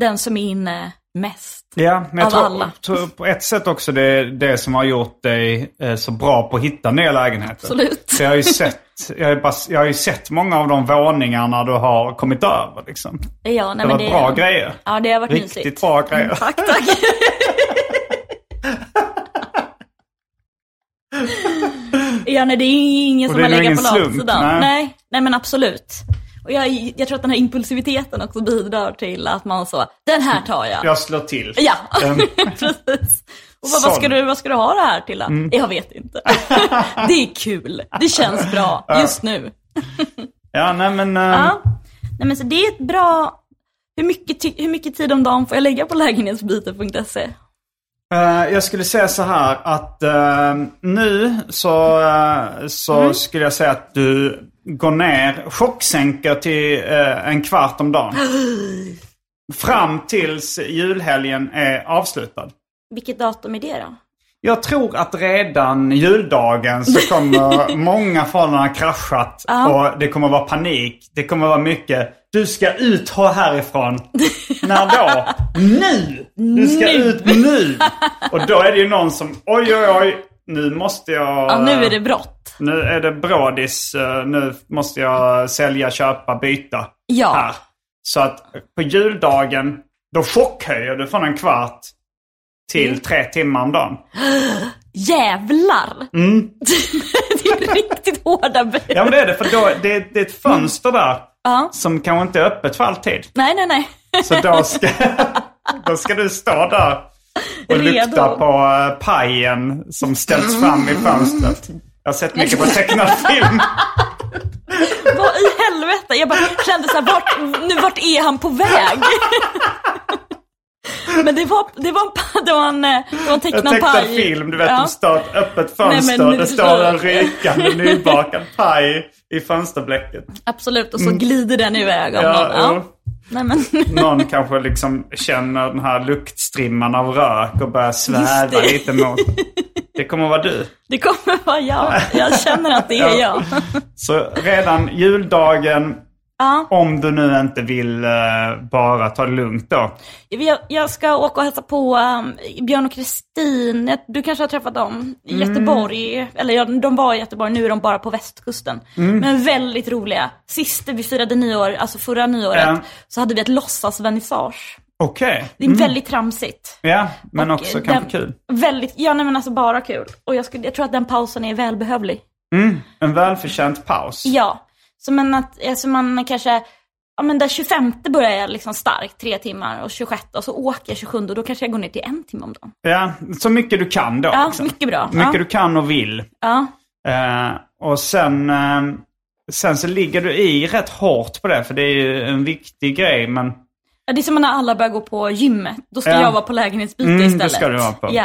B: den som är inne mest.
A: Ja, men jag
B: Av
A: tror,
B: alla.
A: tror på ett sätt också det är det som har gjort dig eh, så bra på att hitta nya lägenheter.
B: Absolut.
A: För Jag har, ju sett, jag, har ju bara, jag har ju sett många av de våningarna du har kommit över. Liksom.
B: Ja, nej,
A: Det
B: men
A: var bra grejer.
B: Ja, det har varit
A: Riktigt
B: mysigt. Mm,
A: bra grejer.
B: Tack, tack. [LAUGHS] ja, nej, det är ju ingen
A: Och
B: som
A: det
B: har
A: är nog
B: legat på
A: ingen slump,
B: latsidan.
A: nej.
B: Nej. nej, men absolut. Och jag, jag tror att den här impulsiviteten också bidrar till att man så, den här tar jag.
A: Jag slår till.
B: Ja,
A: Ehm,
B: [LAUGHS] precis. Och bara, vad, ska
A: Sån. Mm.
B: du, vad ska du ha det här till? då? Jag vet inte. [LAUGHS] det är kul. Det känns bra just nu.
A: Ja, nej men... eh,
B: Ja. Nej, men så det är ett bra... Hur mycket, ty- hur mycket tid om dagen får jag lägga på lägenhetsbyte.se?
A: Eh, jag skulle säga så här att eh, nu så, eh, så skulle jag säga att du går ner, chocksänker till eh, en kvart om dagen. Fram tills julhelgen är avslutad.
B: Vilket datum är det då?
A: Jag tror att redan juldagen
B: [LAUGHS]
A: så kommer många förhållanden ha kraschat och det kommer vara panik. Det kommer vara mycket, du ska ut härifrån. När då? Nu! Du ska ut nu! Och då är det ju någon som, oj oj oj, nu måste jag... eh,
B: Ja, nu är det brott.
A: Nu är det brådis, eh, nu måste jag sälja, köpa, byta
B: Ja.
A: här. Så att på juldagen, då chockhöjer du från en kvart
B: Mm.
A: till tre timmar om dagen.
B: Jävlar! [LAUGHS] det är riktigt hårda bud.
A: Mm. Ja men det är det, för då, det, det är ett fönster där
B: Ja.
A: som kanske inte är öppet för alltid.
B: Nej, nej, nej. [LAUGHS]
A: Så då ska, då ska du stå där och
B: Redo.
A: lukta på eh, pajen som ställs fram i fönstret. Jag har sett mycket på tecknad
B: [LAUGHS]
A: film.
B: Vad i helvete? Jag bara kände så här, vart, nu, vart är han på väg? [LAUGHS] Men det var, det var, en pa- det var en, eh, det var en
A: En
B: tecknad
A: tecknad
B: paj.
A: film, du vet
B: Ja.
A: de står ett öppet
B: men
A: fönster.
B: nu-
A: det står en rykande nybakad paj i fönsterblecket.
B: Absolut, och så glider den iväg av
A: Mm. Ja,
B: någon.
A: ja.
B: Ja. Nej, men, [LAUGHS]
A: Någon kanske liksom känner den här luktstrimman av rök och börjar sväva
B: det.
A: lite mot Det kommer vara du.
B: det kommer vara jag. Jag känner att det är
A: Ja.
B: jag.
A: Så redan juldagen,
B: Ja.
A: om du nu inte vill eh, bara ta det lugnt då.
B: Jag, jag ska åka och hälsa på um, Björn och Kristin. Jag- Du kanske har träffat dem i
A: Mm.
B: Göteborg. Eller ja, de var i Göteborg, nu är de bara på västkusten.
A: Mm.
B: Men väldigt roliga. Sist vi firade nyår, alltså förra nyåret,
A: Ja.
B: så hade vi ett låtsasvernissage.
A: Okej.
B: Det är väldigt tramsigt.
A: Ja, men
B: Och
A: också
B: den-
A: kanske kul.
B: Väldigt, ja nej, men alltså bara kul. Och jag, skulle, jag tror att den pausen är välbehövlig.
A: En välförtjänt paus.
B: Ja, så men att alltså man kanske, ja men där 25 börjar jag liksom starkt, tre timmar och 26 och så åker jag 27 och då kanske jag går ner till en timme om dagen.
A: Ja, så mycket du kan då.
B: Ja,
A: liksom.
B: mycket bra.
A: Mycket
B: ja.
A: du kan och vill.
B: ja.
A: Eh, och sen, eh, sen så ligger du i rätt hårt på det, för det är ju en viktig grej. Men
B: Ja, det är som när alla börjar gå på gymmet. Då ska
A: Ja.
B: jag vara på lägenhetsbyte
A: Mm, det
B: istället.
A: ska du vara på.
B: Ja.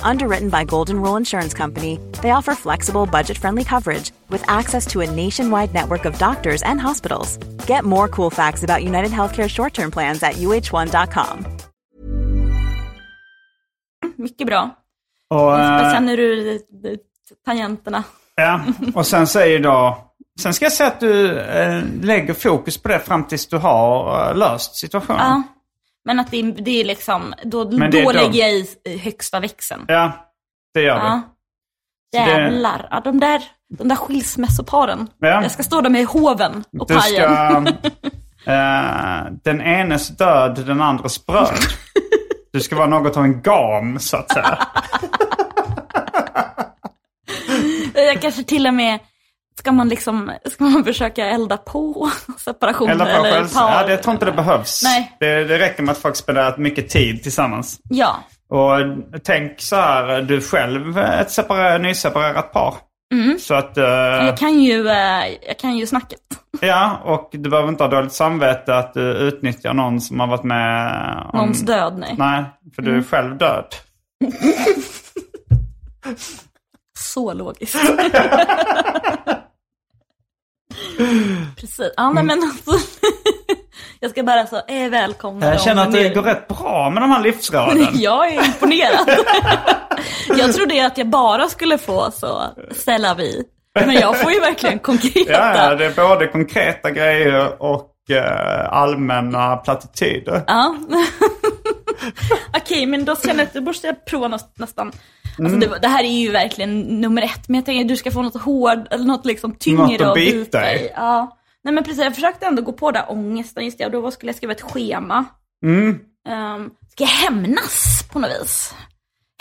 D: Underwritten by Golden Rule Insurance Company, they offer flexible, budget friendly coverage with access to a nationwide network of doctors and hospitals. Get more cool facts about United Healthcare short term plans at uh1.com.
B: Mycket bra.
A: Och, eh,
B: Sen är du tangenterna.
A: ja. och sen säger då... Sen ska jag säga att du eh, lägger fokus på det fram tills du har eh, löst situationen.
B: Ja. Men att det, är- det är liksom, då,
A: Mm. Men det är
B: då
A: dumt.
B: lägger jag i i högsta växeln.
A: Ja, det gör
B: Ja.
A: det-
B: Jävlar. Ja, de, där, de där skilsmässoparen.
A: Ja.
B: Jag ska stå där med hoven och
A: du. Du
B: pajen. [LAUGHS]
A: ska... eh, den enes död, den andres bröd. Du ska vara något av en gam, så
B: [LAUGHS]
A: att säga.
B: Jag kanske till och med, ska man liksom, ska man försöka elda på [LAUGHS] separationer
A: Eller
B: eller,
A: på själv...
B: par?
A: Ja, det jag tror inte det behövs.
B: Nej.
A: Det, det räcker med att folk spenderar mycket tid tillsammans.
B: Ja.
A: Och tänk så här, du själv är ett separerat, nyseparerat par.
B: Mm.
A: Så att, eh,
B: Jag kan ju, eh, jag kan ju snacket.
A: ja, och du behöver inte ha dåligt samvete att du utnyttjar någon som har varit med om...
B: Någons död, Mm. nej.
A: Mm. Nej, för du är själv död.
B: Så
A: [LAUGHS]
B: logiskt. Precis. Ja, nej, men
A: Mm.
B: alltså. [LAUGHS] jag ska bara så, eh, välkomna
A: Jag
B: dem.
A: känner att
B: [LAUGHS]
A: det
B: Men-
A: går rätt bra med de
B: [LAUGHS]
A: här livsråden.
B: Jag är imponerad. [LAUGHS] jag trodde att jag bara skulle få så, ställa vi. Men jag får ju verkligen konkreta.
A: Ja, ja, det är både konkreta grejer och eh, allmänna plattityder.
B: Ja. Okej, men då känner jag att du borde prova något, nästan.
A: Mm.
B: Alltså, det, det här är ju verkligen nummer ett, men jag tänker att du ska få något hård, eller något liksom tyngre
A: Något att bita i.
B: Ja. Nej men precis, jag försökte ändå gå på den där ångesten, just det, och då skulle jag skriva ett schema.
A: Mm.
B: Ehm, ska jag hämnas på något vis?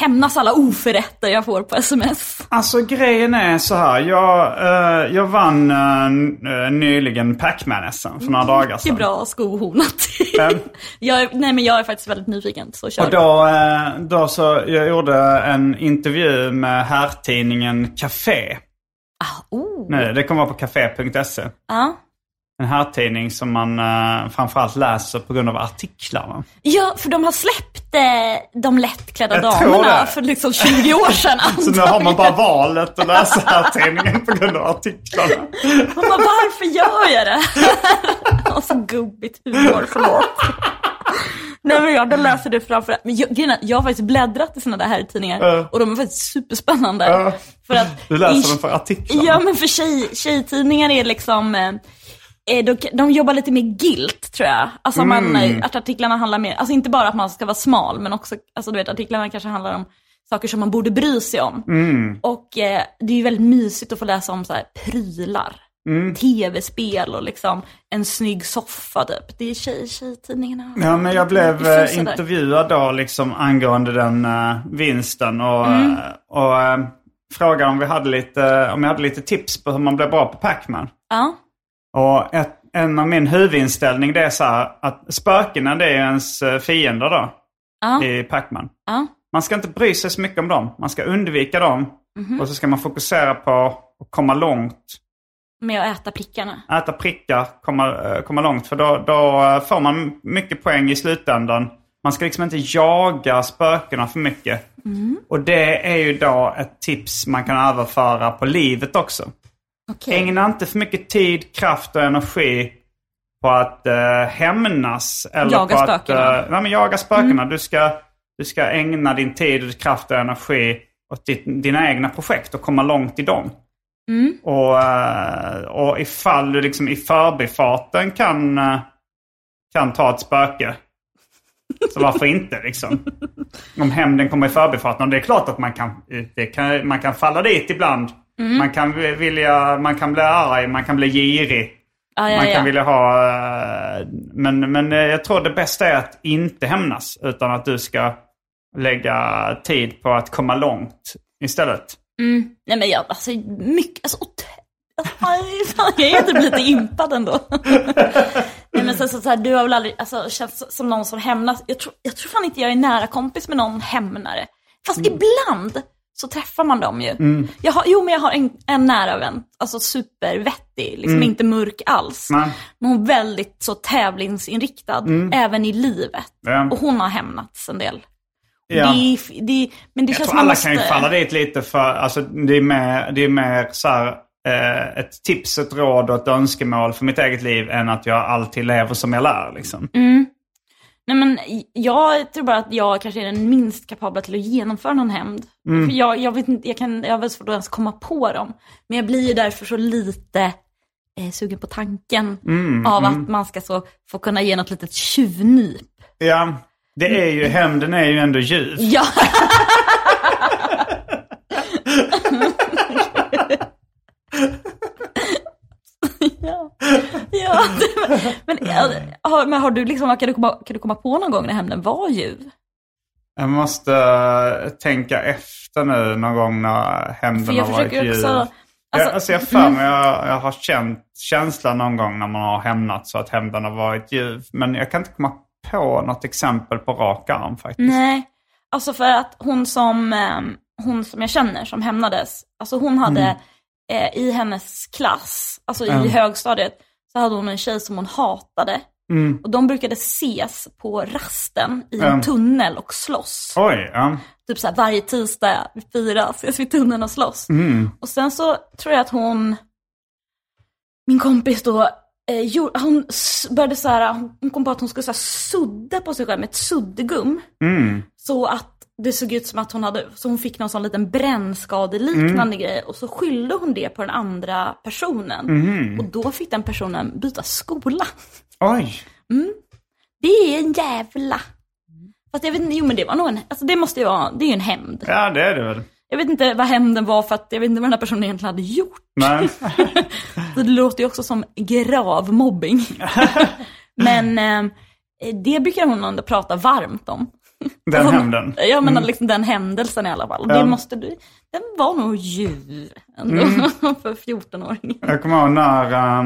B: Hämnas alla oförrätter jag får på sms.
A: Alltså grejen är så här. Jag, eh, jag vann eh, n- eh, nyligen Pac-Man-SM för några dagar
B: Mm, Det är
A: sedan.
B: bra skohornat.
A: Men-
B: [LAUGHS] jag, är- nej men jag är faktiskt väldigt nyfiken, så kör.
A: Och då, eh, då så, jag gjorde en intervju med herrtidningen Café.
B: oh.
A: Nu, det kommer vara på café.se.
B: Ja.
A: E. En herrtidning som man eh, framförallt läser på grund av artiklar. va?
B: Ja, för de har släppt eh, de lättklädda
A: Jag tror
B: damerna
A: det.
B: för liksom 20 år sedan
A: [LAUGHS] Så nu
B: antagligen.
A: har man bara valet att läsa herrtidningen på grund av artiklarna.
B: Man bara, varför gör jag det [LAUGHS] här? Och så gubbigt humor,
A: [LAUGHS]
B: förlåt. Nej men jag, då läser det framför Men jag, grejen är, jag har faktiskt bläddrat i såna där här tidningar och de är faktiskt superspännande.
A: Ja.
B: För att
A: Du
B: i-
A: läser dem för artiklarna.
B: Ja men för tjej, tjejtidningar är liksom, eh, eh, de, de jobbar lite mer gilt tror jag. Alltså man,
A: Mm.
B: eh, att artiklarna handlar mer, alltså inte bara att man ska vara smal men också, alltså du vet artiklarna kanske handlar om saker som man borde bry sig om.
A: Mm.
B: Och eh, det är ju väldigt mysigt att få läsa om så här prylar.
A: Mm.
B: Tv-spel och liksom en snygg soffa typ. Det är tjej, tjejtidningarna.
A: Ja, men jag blev
B: Det
A: eh,
B: finns sådär.
A: intervjuad då liksom angående den eh, vinsten och,
B: Mm.
A: eh, och eh, frågade om, vi hade lite, om jag hade lite tips på hur man blir bra på Pac-Man.
B: Ja.
A: Och ett, en av min huvudinställning det är så här att spökena det är ens eh, fiender då
B: Ja.
A: i Pac-Man.
B: Ja.
A: Man ska inte bry sig så mycket om dem. Man ska undvika dem
B: Mhm.
A: och så ska man fokusera på att komma långt.
B: Med att äta prickarna.
A: Äta prickar, komma, eh, komma långt. För då, då eh, får man mycket poäng i slutändan. Man ska liksom inte jaga spökena för mycket. Och det är ju då ett tips man kan överföra på livet också.
B: Okej.
A: Ägna inte för mycket tid, kraft och energi på att eh, hämnas. Eller
B: Jaga
A: på
B: spökena. Mm.
A: Att, eh, nej, men jaga spökena. Du, ska, du ska ägna din tid, kraft och energi åt ditt, dina egna projekt och komma långt i dem.
B: Mm.
A: Och, eh, och ifall du liksom i förbifarten kan, eh, kan ta ett spöke, så varför inte
B: [LAUGHS]
A: liksom? Om hämnden kommer i förbifarten. Och det är klart att man kan, det kan, man kan falla dit ibland.
B: Mm.
A: Man, kan vilja, man kan bli arg, man kan bli girig.
B: Ja, ja,
A: Man
B: ja.
A: kan vilja ha... eh, Men, men eh, jag tror det bästa är att inte hämnas. Utan att du ska lägga tid på att komma långt istället.
B: Nej men jag, alltså mycket, alltså, ot- Aj, fan, jag är typ lite impad
A: [LAUGHS]
B: ändå. Nej men sen så, så här, du har väl aldrig, alltså känns som någon som hämnas. Jag tror, jag tror fan inte jag är nära kompis med någon hämnare. Fast
A: Mm.
B: ibland så träffar man dem ju. Jag har, jo men jag har en, en nära vän, alltså supervettig, liksom inte mörk alls.
A: Mm. Nej. Mm.
B: Men hon är väldigt så tävlingsinriktad, även i livet.
A: Ja.
B: Och hon har hämnats en del.
A: Ja.
B: Det, är- det, men det
A: Jag
B: känns
A: tror
B: man
A: alla
B: måste-
A: kan ju falla dit lite för... Alltså, det är mer, det är mer så här, eh, ett tips, ett råd och ett önskemål för mitt eget liv än att jag alltid lever som jag lär. Liksom.
B: Mm. Nej men jag tror bara att jag kanske är den minst kapabla till att genomföra någon hämnd. För jag, jag vet inte, jag kan, jag har väldigt svårt att ens komma på dem. Men jag blir ju därför så lite eh, sugen på tanken av att man ska så, få kunna ge något litet tjuvnyp.
A: Ja, det är ju... Hämnden är ju ändå ljuv.
B: Ja, ja. [LAUGHS] ja. Men, eh, har, men har du liksom, kan du, komma, kan du komma på någon gång när hämnden var ljuv?
A: Jag måste eh, tänka efter nu någon gång när
B: För
A: hämnden
B: jag
A: har varit
B: försöker
A: ljuv.
B: också,
A: Alltså, jag,
B: alltså-
A: alltså jag för mig, jag, jag har känt känslan någon gång när man har hämnat så att hämnden har varit ljuv. Men jag kan inte komma på något exempel på rak arm faktiskt.
B: Nej, alltså för att hon som, ehm, hon som jag känner som hämnades, alltså hon hade eh, i hennes klass, alltså i högstadiet, så hade hon en tjej som hon hatade. Och de brukade ses på rasten i en
A: Mm.
B: tunnel och slåss.
A: Oj, ja.
B: Typ så här varje tisdag vid fyra ses vi i tunneln och slåss. Och sen så tror jag att hon, min kompis då, eh, gjorde, hon s- började så här, hon kom på att hon skulle så här sudda på sig själv med ett suddgum. Så att det såg ut som att hon hade, så hon fick någon sån liten brännskadeliknande grej. Och så skyllde hon det på den andra personen. Och då fick den personen byta skola.
A: Oj.
B: Det är en jävla... Fast jag vet inte, jo men det var nog en, alltså det måste ju vara, det är ju en hämnd.
A: Ja, det är det väl.
B: Jag vet inte vad hämnden var för att jag vet inte vad den här personen egentligen hade
A: [LAUGHS]
B: gjort.
A: Men,
B: Så det låter ju också som grav
A: [LAUGHS]
B: mobbing. men eh, det brukar hon ändå prata varmt om.
A: den
B: Hon-
A: hämnden. Mm.
B: Ja men liksom den händelsen i alla fall. Det
A: Ja.
B: måste du, den var nog djur ändå
A: Mm.
B: [LAUGHS] för 14-åringen.
A: Jag kommer ihåg när, eh,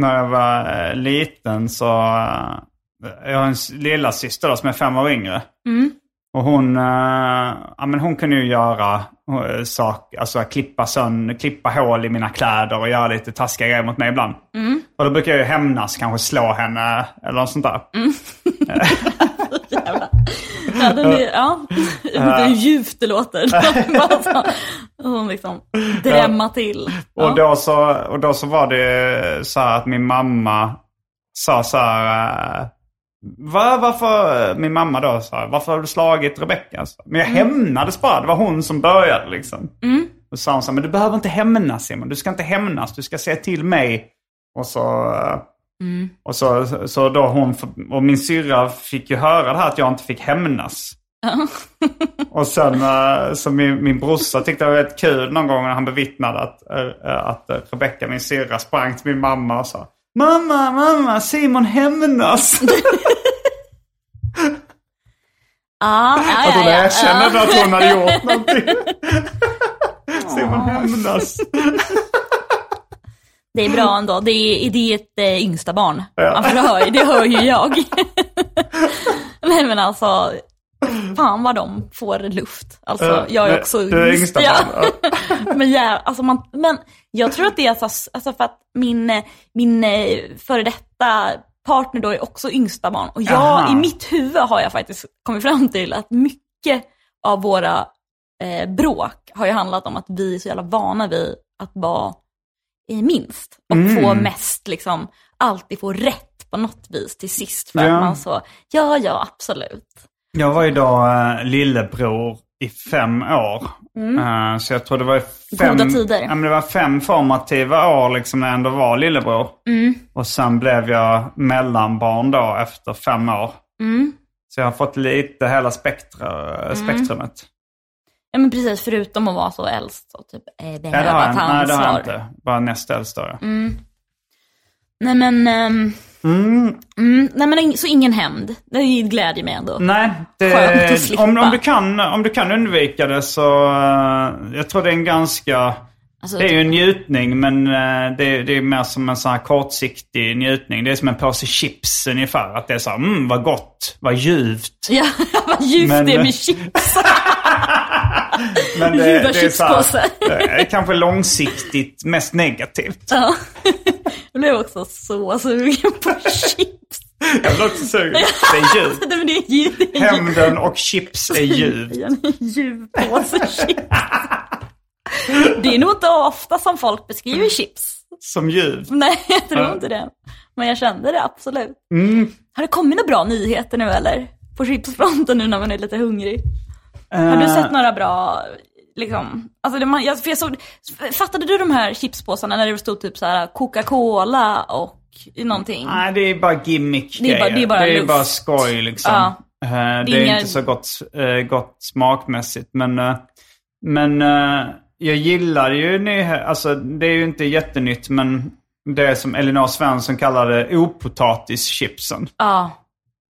A: när jag var eh, liten så... eh, jag har en s- lilla syster då, som är fem år yngre. Och hon, eh, ja, men hon kunde ju göra eh, saker, alltså klippa, sönd, klippa hål i mina kläder och göra lite taskiga grejer mot mig ibland. Och då brukar jag ju hämnas, kanske slå henne eller något sånt där.
B: Ja, den är,
A: [LAUGHS]
B: ja. Jag vet inte hur djupt det låter. Bara så- Hon liksom drämma till. Ja.
A: Och, då så, och då så var det så här att min mamma sa så här... eh, Va, varför, min mamma då sa, varför har du slagit Rebecka? Så, Men jag hämnades bara, det var hon som började liksom. Mm. Och sa hon så här, men du behöver inte hämnas Simon, du ska inte hämnas, du ska säga till mig. Och så, eh, och så, så då hon, och min syrra fick ju höra det här att jag inte fick hämnas. Och sen eh, så min, min brorsa tyckte det var väldigt kul någon gång när han bevittnade att, eh, att eh, Rebecca, min syrra, sprang till min mamma och sa Mamma, mamma,
B: [LAUGHS]
A: Simon hämnas!
B: Ah, ja,
A: Att hon
B: ja, ja.
A: erkände att hon hade gjort någonting.
B: [LAUGHS]
A: Simon hämnas.
B: Det är bra ändå. Det är, det är ett eh, yngsta barn. Ja. för det, hör, det hör ju jag. [LAUGHS] Nej men alltså, fan vad de får luft. Alltså,
A: Ja,
B: jag är
A: men
B: också
A: du är yngsta
B: [LAUGHS]
A: barn,
B: men, ja, alltså man, men jag tror att det är alltså, alltså för att min, eh, min eh, före detta partner då är också yngsta barn. Och jag,
A: Aha.
B: i mitt huvud har jag faktiskt kommit fram till att mycket av våra eh, bråk har ju handlat om att vi är så jävla vana vid
A: Mm.
B: att vara i minst och få mest, liksom, alltid få rätt på något vis till sist. För
A: Ja.
B: att man så, ja, ja, absolut.
A: Jag var ju då eh, lillebror i fem år. Eh, så jag tror det var fem,
B: Mm. Goda tider.
A: Ja, men det var fem formativa år liksom när jag ändå var lillebror.
B: Mm.
A: Och sen blev jag mellanbarn då efter fem år.
B: Mm.
A: Så jag har fått lite hela spektra, spektrumet.
B: Ja, men precis, förutom att vara så äldst. Så typ, eh,
A: Ja, det
B: behöva
A: har
B: ta
A: jag, nej, det har jag
B: ansvar.
A: inte. Bara näst äldst då. ja.
B: Nej men, ehm, mm, nej, men in- så ingen hämnd. Det glädjer mig ändå.
A: Nej,
B: Skönt att
A: det,
B: slippa.
A: om, om, du kan, om du kan undvika det så... eh, jag tror det är en ganska...
B: Alltså,
A: Det är ju en njutning, men eh, det är, det är mer som en sån här kortsiktig njutning. Det är som en påse chips ungefär. Att det är så här, mm, vad gott,
B: [LAUGHS]
A: vad ljuvt.
B: [LAUGHS] Ja, vad ljuvt
A: Men-
B: det är med chips.
A: Men det,
B: Ljuva
A: det är så här,
B: chipspåse.
A: [LAUGHS] det är kanske långsiktigt mest negativt.
B: Ja. [LAUGHS] Jag blev också så sugen på chips. [LAUGHS]
A: Jag blir också sugen. Det är ljuvt.
B: Nej, men det är ju... det är ju-
A: Hämnden och chips är ljuvt.
B: En djupåse chips. Det är nog inte ofta som folk beskriver chips.
A: Som ljuvt.
B: Nej, jag tror inte det. Men jag kände det absolut. Har det kommit några bra nyheter nu eller? På chipsfronten nu när man är lite hungrig. Har
A: Eh.
B: du sett några bra, liksom? Alltså det, man, jag, för jag såg, fattade du de här chipspåsarna när det stod typ så här Coca-Cola och någonting?
A: Nej, det är bara gimmick
B: Det är bara- det är bara
A: det är
B: luft.
A: bara skoj liksom.
B: Ja.
A: Eh, det, är
B: inga-
A: inte så gott, eh, gott smakmässigt. Men, eh, men eh, jag gillar ju nyhe- alltså det är ju inte jättenytt men det som Elinor Svensson kallade opotatis-chipsen.
B: Ja.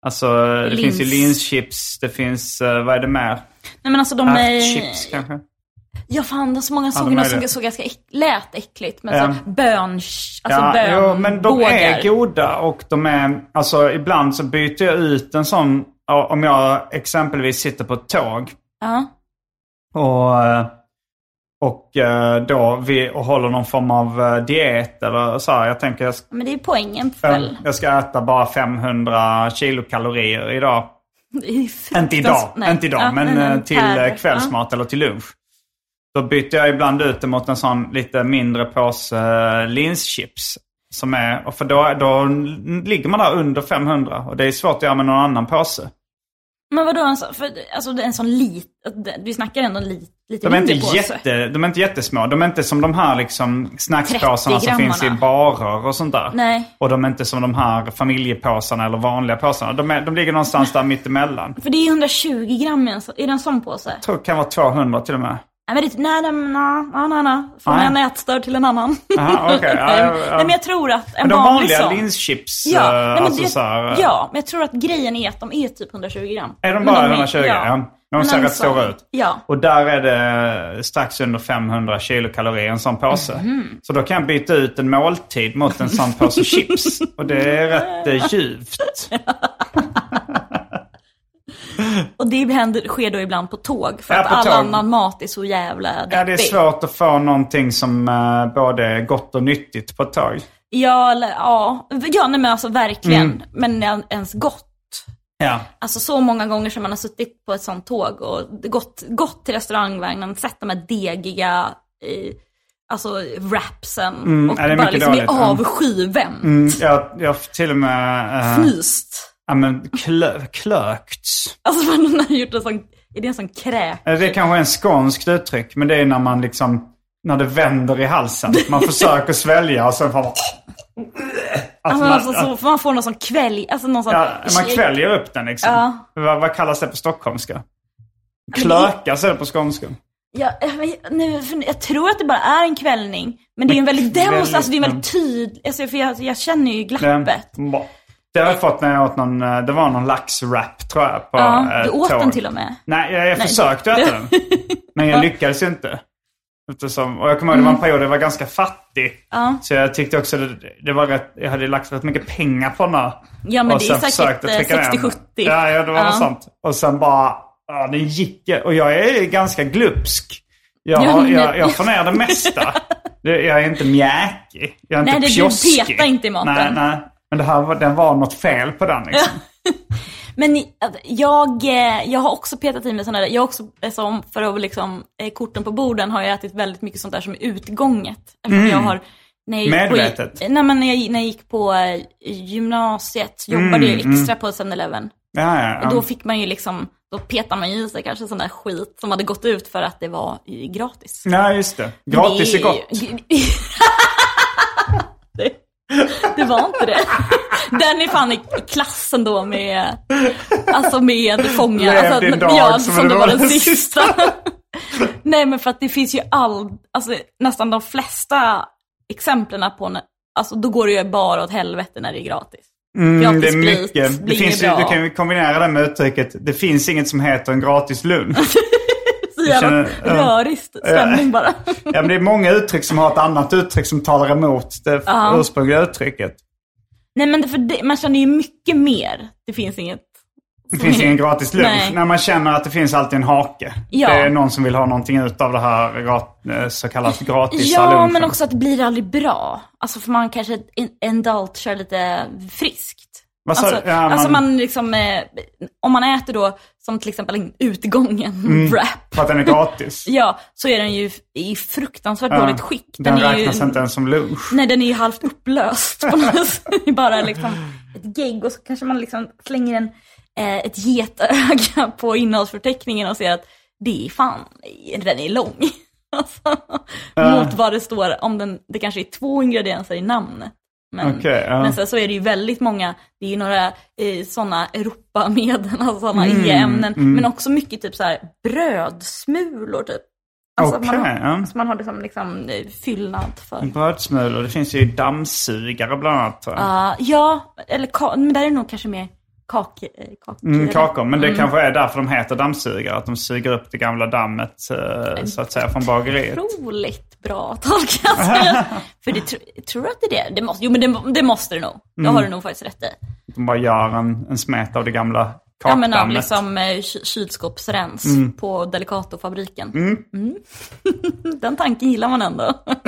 A: Alltså det
B: Lins.
A: finns ju linschips, det finns, eh, vad är det mer?
B: Nej men alltså de
A: Ärtchips
B: är...
A: kanske?
B: Ja fan, det var så många
A: de
B: såg
A: är
B: något
A: det.
B: som såg ganska äck, lät äckligt. Men
A: Ja.
B: så bön... Alltså bön...
A: jo, men de är
B: bågar.
A: goda och de är, alltså ibland så byter jag ut en sån, ja, om jag exempelvis sitter på ett tåg
B: Ja.
A: Och, eh, och eh, då vi och håller någon form av eh, diet eller så här. Jag tänker jag ska,
B: Men det är poängen väl?
A: jag ska äta bara 500 kilokalorier idag.
B: [LAUGHS] Det är ju
A: Inte idag,
B: fruktans- nej.
A: inte idag
B: Ja,
A: men eh, till
B: per-
A: eh, kvällsmat eller till lunch. Då byter jag ibland ut det mot en sån lite mindre påse eh, linschips. Som är, och för då, då ligger man där under 500 och det är svårt att göra med någon annan påse.
B: Ja. Men vadå, en sån, för, alltså det är en sån liten... Vi snackar ändå en lit, lite
A: De är, inte
B: mindre påse.
A: jätte, de är inte jättesmå. De är inte som de här liksom snackspåsarna som
B: 30
A: finns i
B: grammarna.
A: barer och sånt där.
B: Nej.
A: Och de är inte som de här familjepåsarna eller vanliga påsarna. De, är, de ligger någonstans där mittemellan.
B: För det är 120 gram i en, sån- är det en sån påse?
A: Jag tror det kan vara 200 till och med.
B: Nej men det, nej, nej, nej, nej, nej, nej. Från
A: Nej.
B: en ätstörd till en annan.
A: Aha,
B: [LAUGHS]
A: okej. Ja, ja, ja.
B: Nej men jag tror att en
A: Men de
B: vanlig
A: vanliga
B: sån...
A: linschips,
B: Ja,
A: eh,
B: nej, men
A: alltså
B: det,
A: så här, eh,
B: ja, men jag tror att grejen är att de är typ 120 gram.
A: Är de
B: Men
A: bara 120? Ja. De
B: Men
A: ser
B: en
A: rätt
B: sån-
A: stora ut.
B: Ja.
A: Och där är det strax under 500 kilokalorier i en sån påse. Så då kan jag byta ut en måltid mot en sån [LAUGHS] påse chips. Och det är rätt eh, ljuvt.
B: Och det händer, sker då ibland på tåg för
A: Ja,
B: att
A: på
B: all
A: tåg.
B: annan mat är så jävla
A: Ja, det är
B: deppig.
A: svårt att få någonting som eh, både är gott och nyttigt på ett tag.
B: Ja, eller, ja. ja nej, men alltså verkligen.
A: Mm.
B: Men en- ens gott.
A: Ja.
B: Alltså så många gånger som man har suttit på ett sånt tåg och gått, gått till restaurangvagnen, sett de här degiga eh, alltså wrapsen och
A: Mm. ja, det är
B: bara
A: mycket
B: liksom är
A: dåligt, Mm. ja.
B: avskyvänt.
A: Jag, jag har till och med eh,
B: Fnyst.
A: ja, men klö, klökts.
B: Alltså man har gjort en sån, är det en sån kräk?
A: Eh, Det är kanske är en skånskt uttryck, men det är när man liksom, när det vänder i halsen. Man försöker svälja och sen får man... Att
B: Alltså, man,
A: man,
B: alltså, så, man får någon sån kvälj, alltså någon sån...
A: ja, man kväljer upp den liksom.
B: Ja.
A: Vad, vad kallas det på stockholmska? Klökas är det på skånska.
B: Ja, men nu, för jag tror att det bara är en kvällning. Men det är en väldigt demonstration, alltså det är en väldigt tydlig, alltså, för jag, jag känner ju glappet.
A: Det, det har jag fått när jag åt någon, eh, det var någon laxwrap tror jag. På,
B: Ja,
A: eh,
B: du åt
A: tåg.
B: den till och med.
A: Nej, jag, jag
B: Nej.
A: försökte äta den.
B: [LAUGHS]
A: Men jag lyckades ju inte. Eftersom, och jag kommer ihåg det var en period där jag var ganska fattig.
B: Mm. Ja.
A: Så jag tyckte också det, det var rätt, jag hade lagt rätt mycket pengar på den här.
B: Ja, men
A: Och
B: det är
A: sen
B: säkert,
A: försökte
B: eh,
A: trycka ner den.
B: 60-70.
A: Ja, ja, det var
B: Ja.
A: något sånt. Och sen bara, ja, det gick ju. Och jag är ganska glupsk. Jag,
B: Ja, men-
A: jag, jag får ner det mesta. Det- Jag är inte mjäkig. Jag är
B: Nej,
A: inte
B: det- du
A: pjoskig.
B: petar inte i maten.
A: Nej, nej. Men det här, var- den var något fel på den liksom.
B: Men ni- att jag, eh, jag har också petat i mig sådana där, jag har också, eh, som för att liksom, eh, korten på borden har jag ätit väldigt mycket sånt där som är utgånget. Eftersom Jag har När jag gick
A: Mm. Medvetet?
B: På, nej, men när jag, när jag gick på eh, gymnasiet jobbade jag
A: mm.
B: extra på 7-Eleven.
A: Ja, ja, ja.
B: Och då fick man ju liksom, då petade man ju i sig kanske sån där skit som hade gått ut för att det var eh, gratis.
A: Nej, just det. Gratis är
B: Det
A: gott.
B: ju- [LAUGHS] det, det var inte det. Den är fan i i klassen då med, alltså med fångar.
A: Levde
B: Alltså,
A: din dag
B: ja,
A: som
B: som
A: det
B: det var
A: var [LAUGHS]
B: den
A: den
B: sista. Nej men för att det finns ju all, alltså nästan de flesta exemplen på, när, alltså då går det ju bara åt helvete när det är gratis.
A: Mm, det
B: gratis
A: är
B: sprit
A: mycket. Det
B: blir
A: finns ju,
B: bra.
A: du kan ju kombinera det med uttrycket det finns inget som heter en gratis lunch.
B: [LAUGHS] Så jävla
A: känner- ja.
B: rörig stämning bara. [LAUGHS]
A: ja, men det är många uttryck som har ett annat uttryck som talar emot det ursprungliga uttrycket.
B: Nej men det, för det, man känner ju mycket mer. Det finns inget.
A: Det finns ingen gratis lunch.
B: Nej.
A: När man känner att det finns alltid en hake.
B: Ja.
A: Det är någon som vill ha någonting utav det här gra- eh, så kallat gratis
B: Ja, men också att det blir aldrig bra. Alltså för man kanske en, en dalt kör lite friskt.
A: Vad sa
B: alltså,
A: du? Ja, man-
B: alltså man liksom, eh, om man äter då som till exempel en utgången
A: Mm.
B: wrap.
A: För att den
B: [LAUGHS]
A: är gratis.
B: Ja, så är den ju i fruktansvärt dåligt skick.
A: Den,
B: är
A: räknas
B: ju,
A: inte ens som lunch.
B: Nej, den är ju halvt upplöst på något vis. Det är bara liksom ett gegg och så kanske man liksom slänger en, eh, ett getöga på innehållsförteckningen och ser att det är fan, den är lång. [LAUGHS] Alltså, Mot vad det står, om den, det kanske är två ingredienser i namnet. Men,
A: Okej, ja.
B: men sen så är det ju väldigt många, det är ju några eh, sådana Europamedel, alltså sådana
A: Mm,
B: EG-ämnen, men också mycket typ så här brödsmulor typ. Alltså att man,
A: Okej, ja.
B: har, så man har det som liksom eh, fyllnad för.
A: Brödsmulor, det finns ju dammsugare bland annat. tror jag.
B: Ah, ja, eller ka- men där är det nog kanske mer kak... eh, kak
A: Mm, kakor, men det kanske är därför de heter dammsugare. Att de suger upp det gamla dammet eh, så att säga från bageriet.
B: Otroligt bra [LAUGHS] tolkat. För det tr- tror du att det är det? det måste, jo, men det, det måste det nog. Det har du nog faktiskt rätt i.
A: De bara gör en, en smet av det gamla kakdammet.
B: Ja, men av liksom eh, ky- kylskåpsrens på Delicato-fabriken. Mm. [LAUGHS] Den tanken gillar man ändå. [LAUGHS]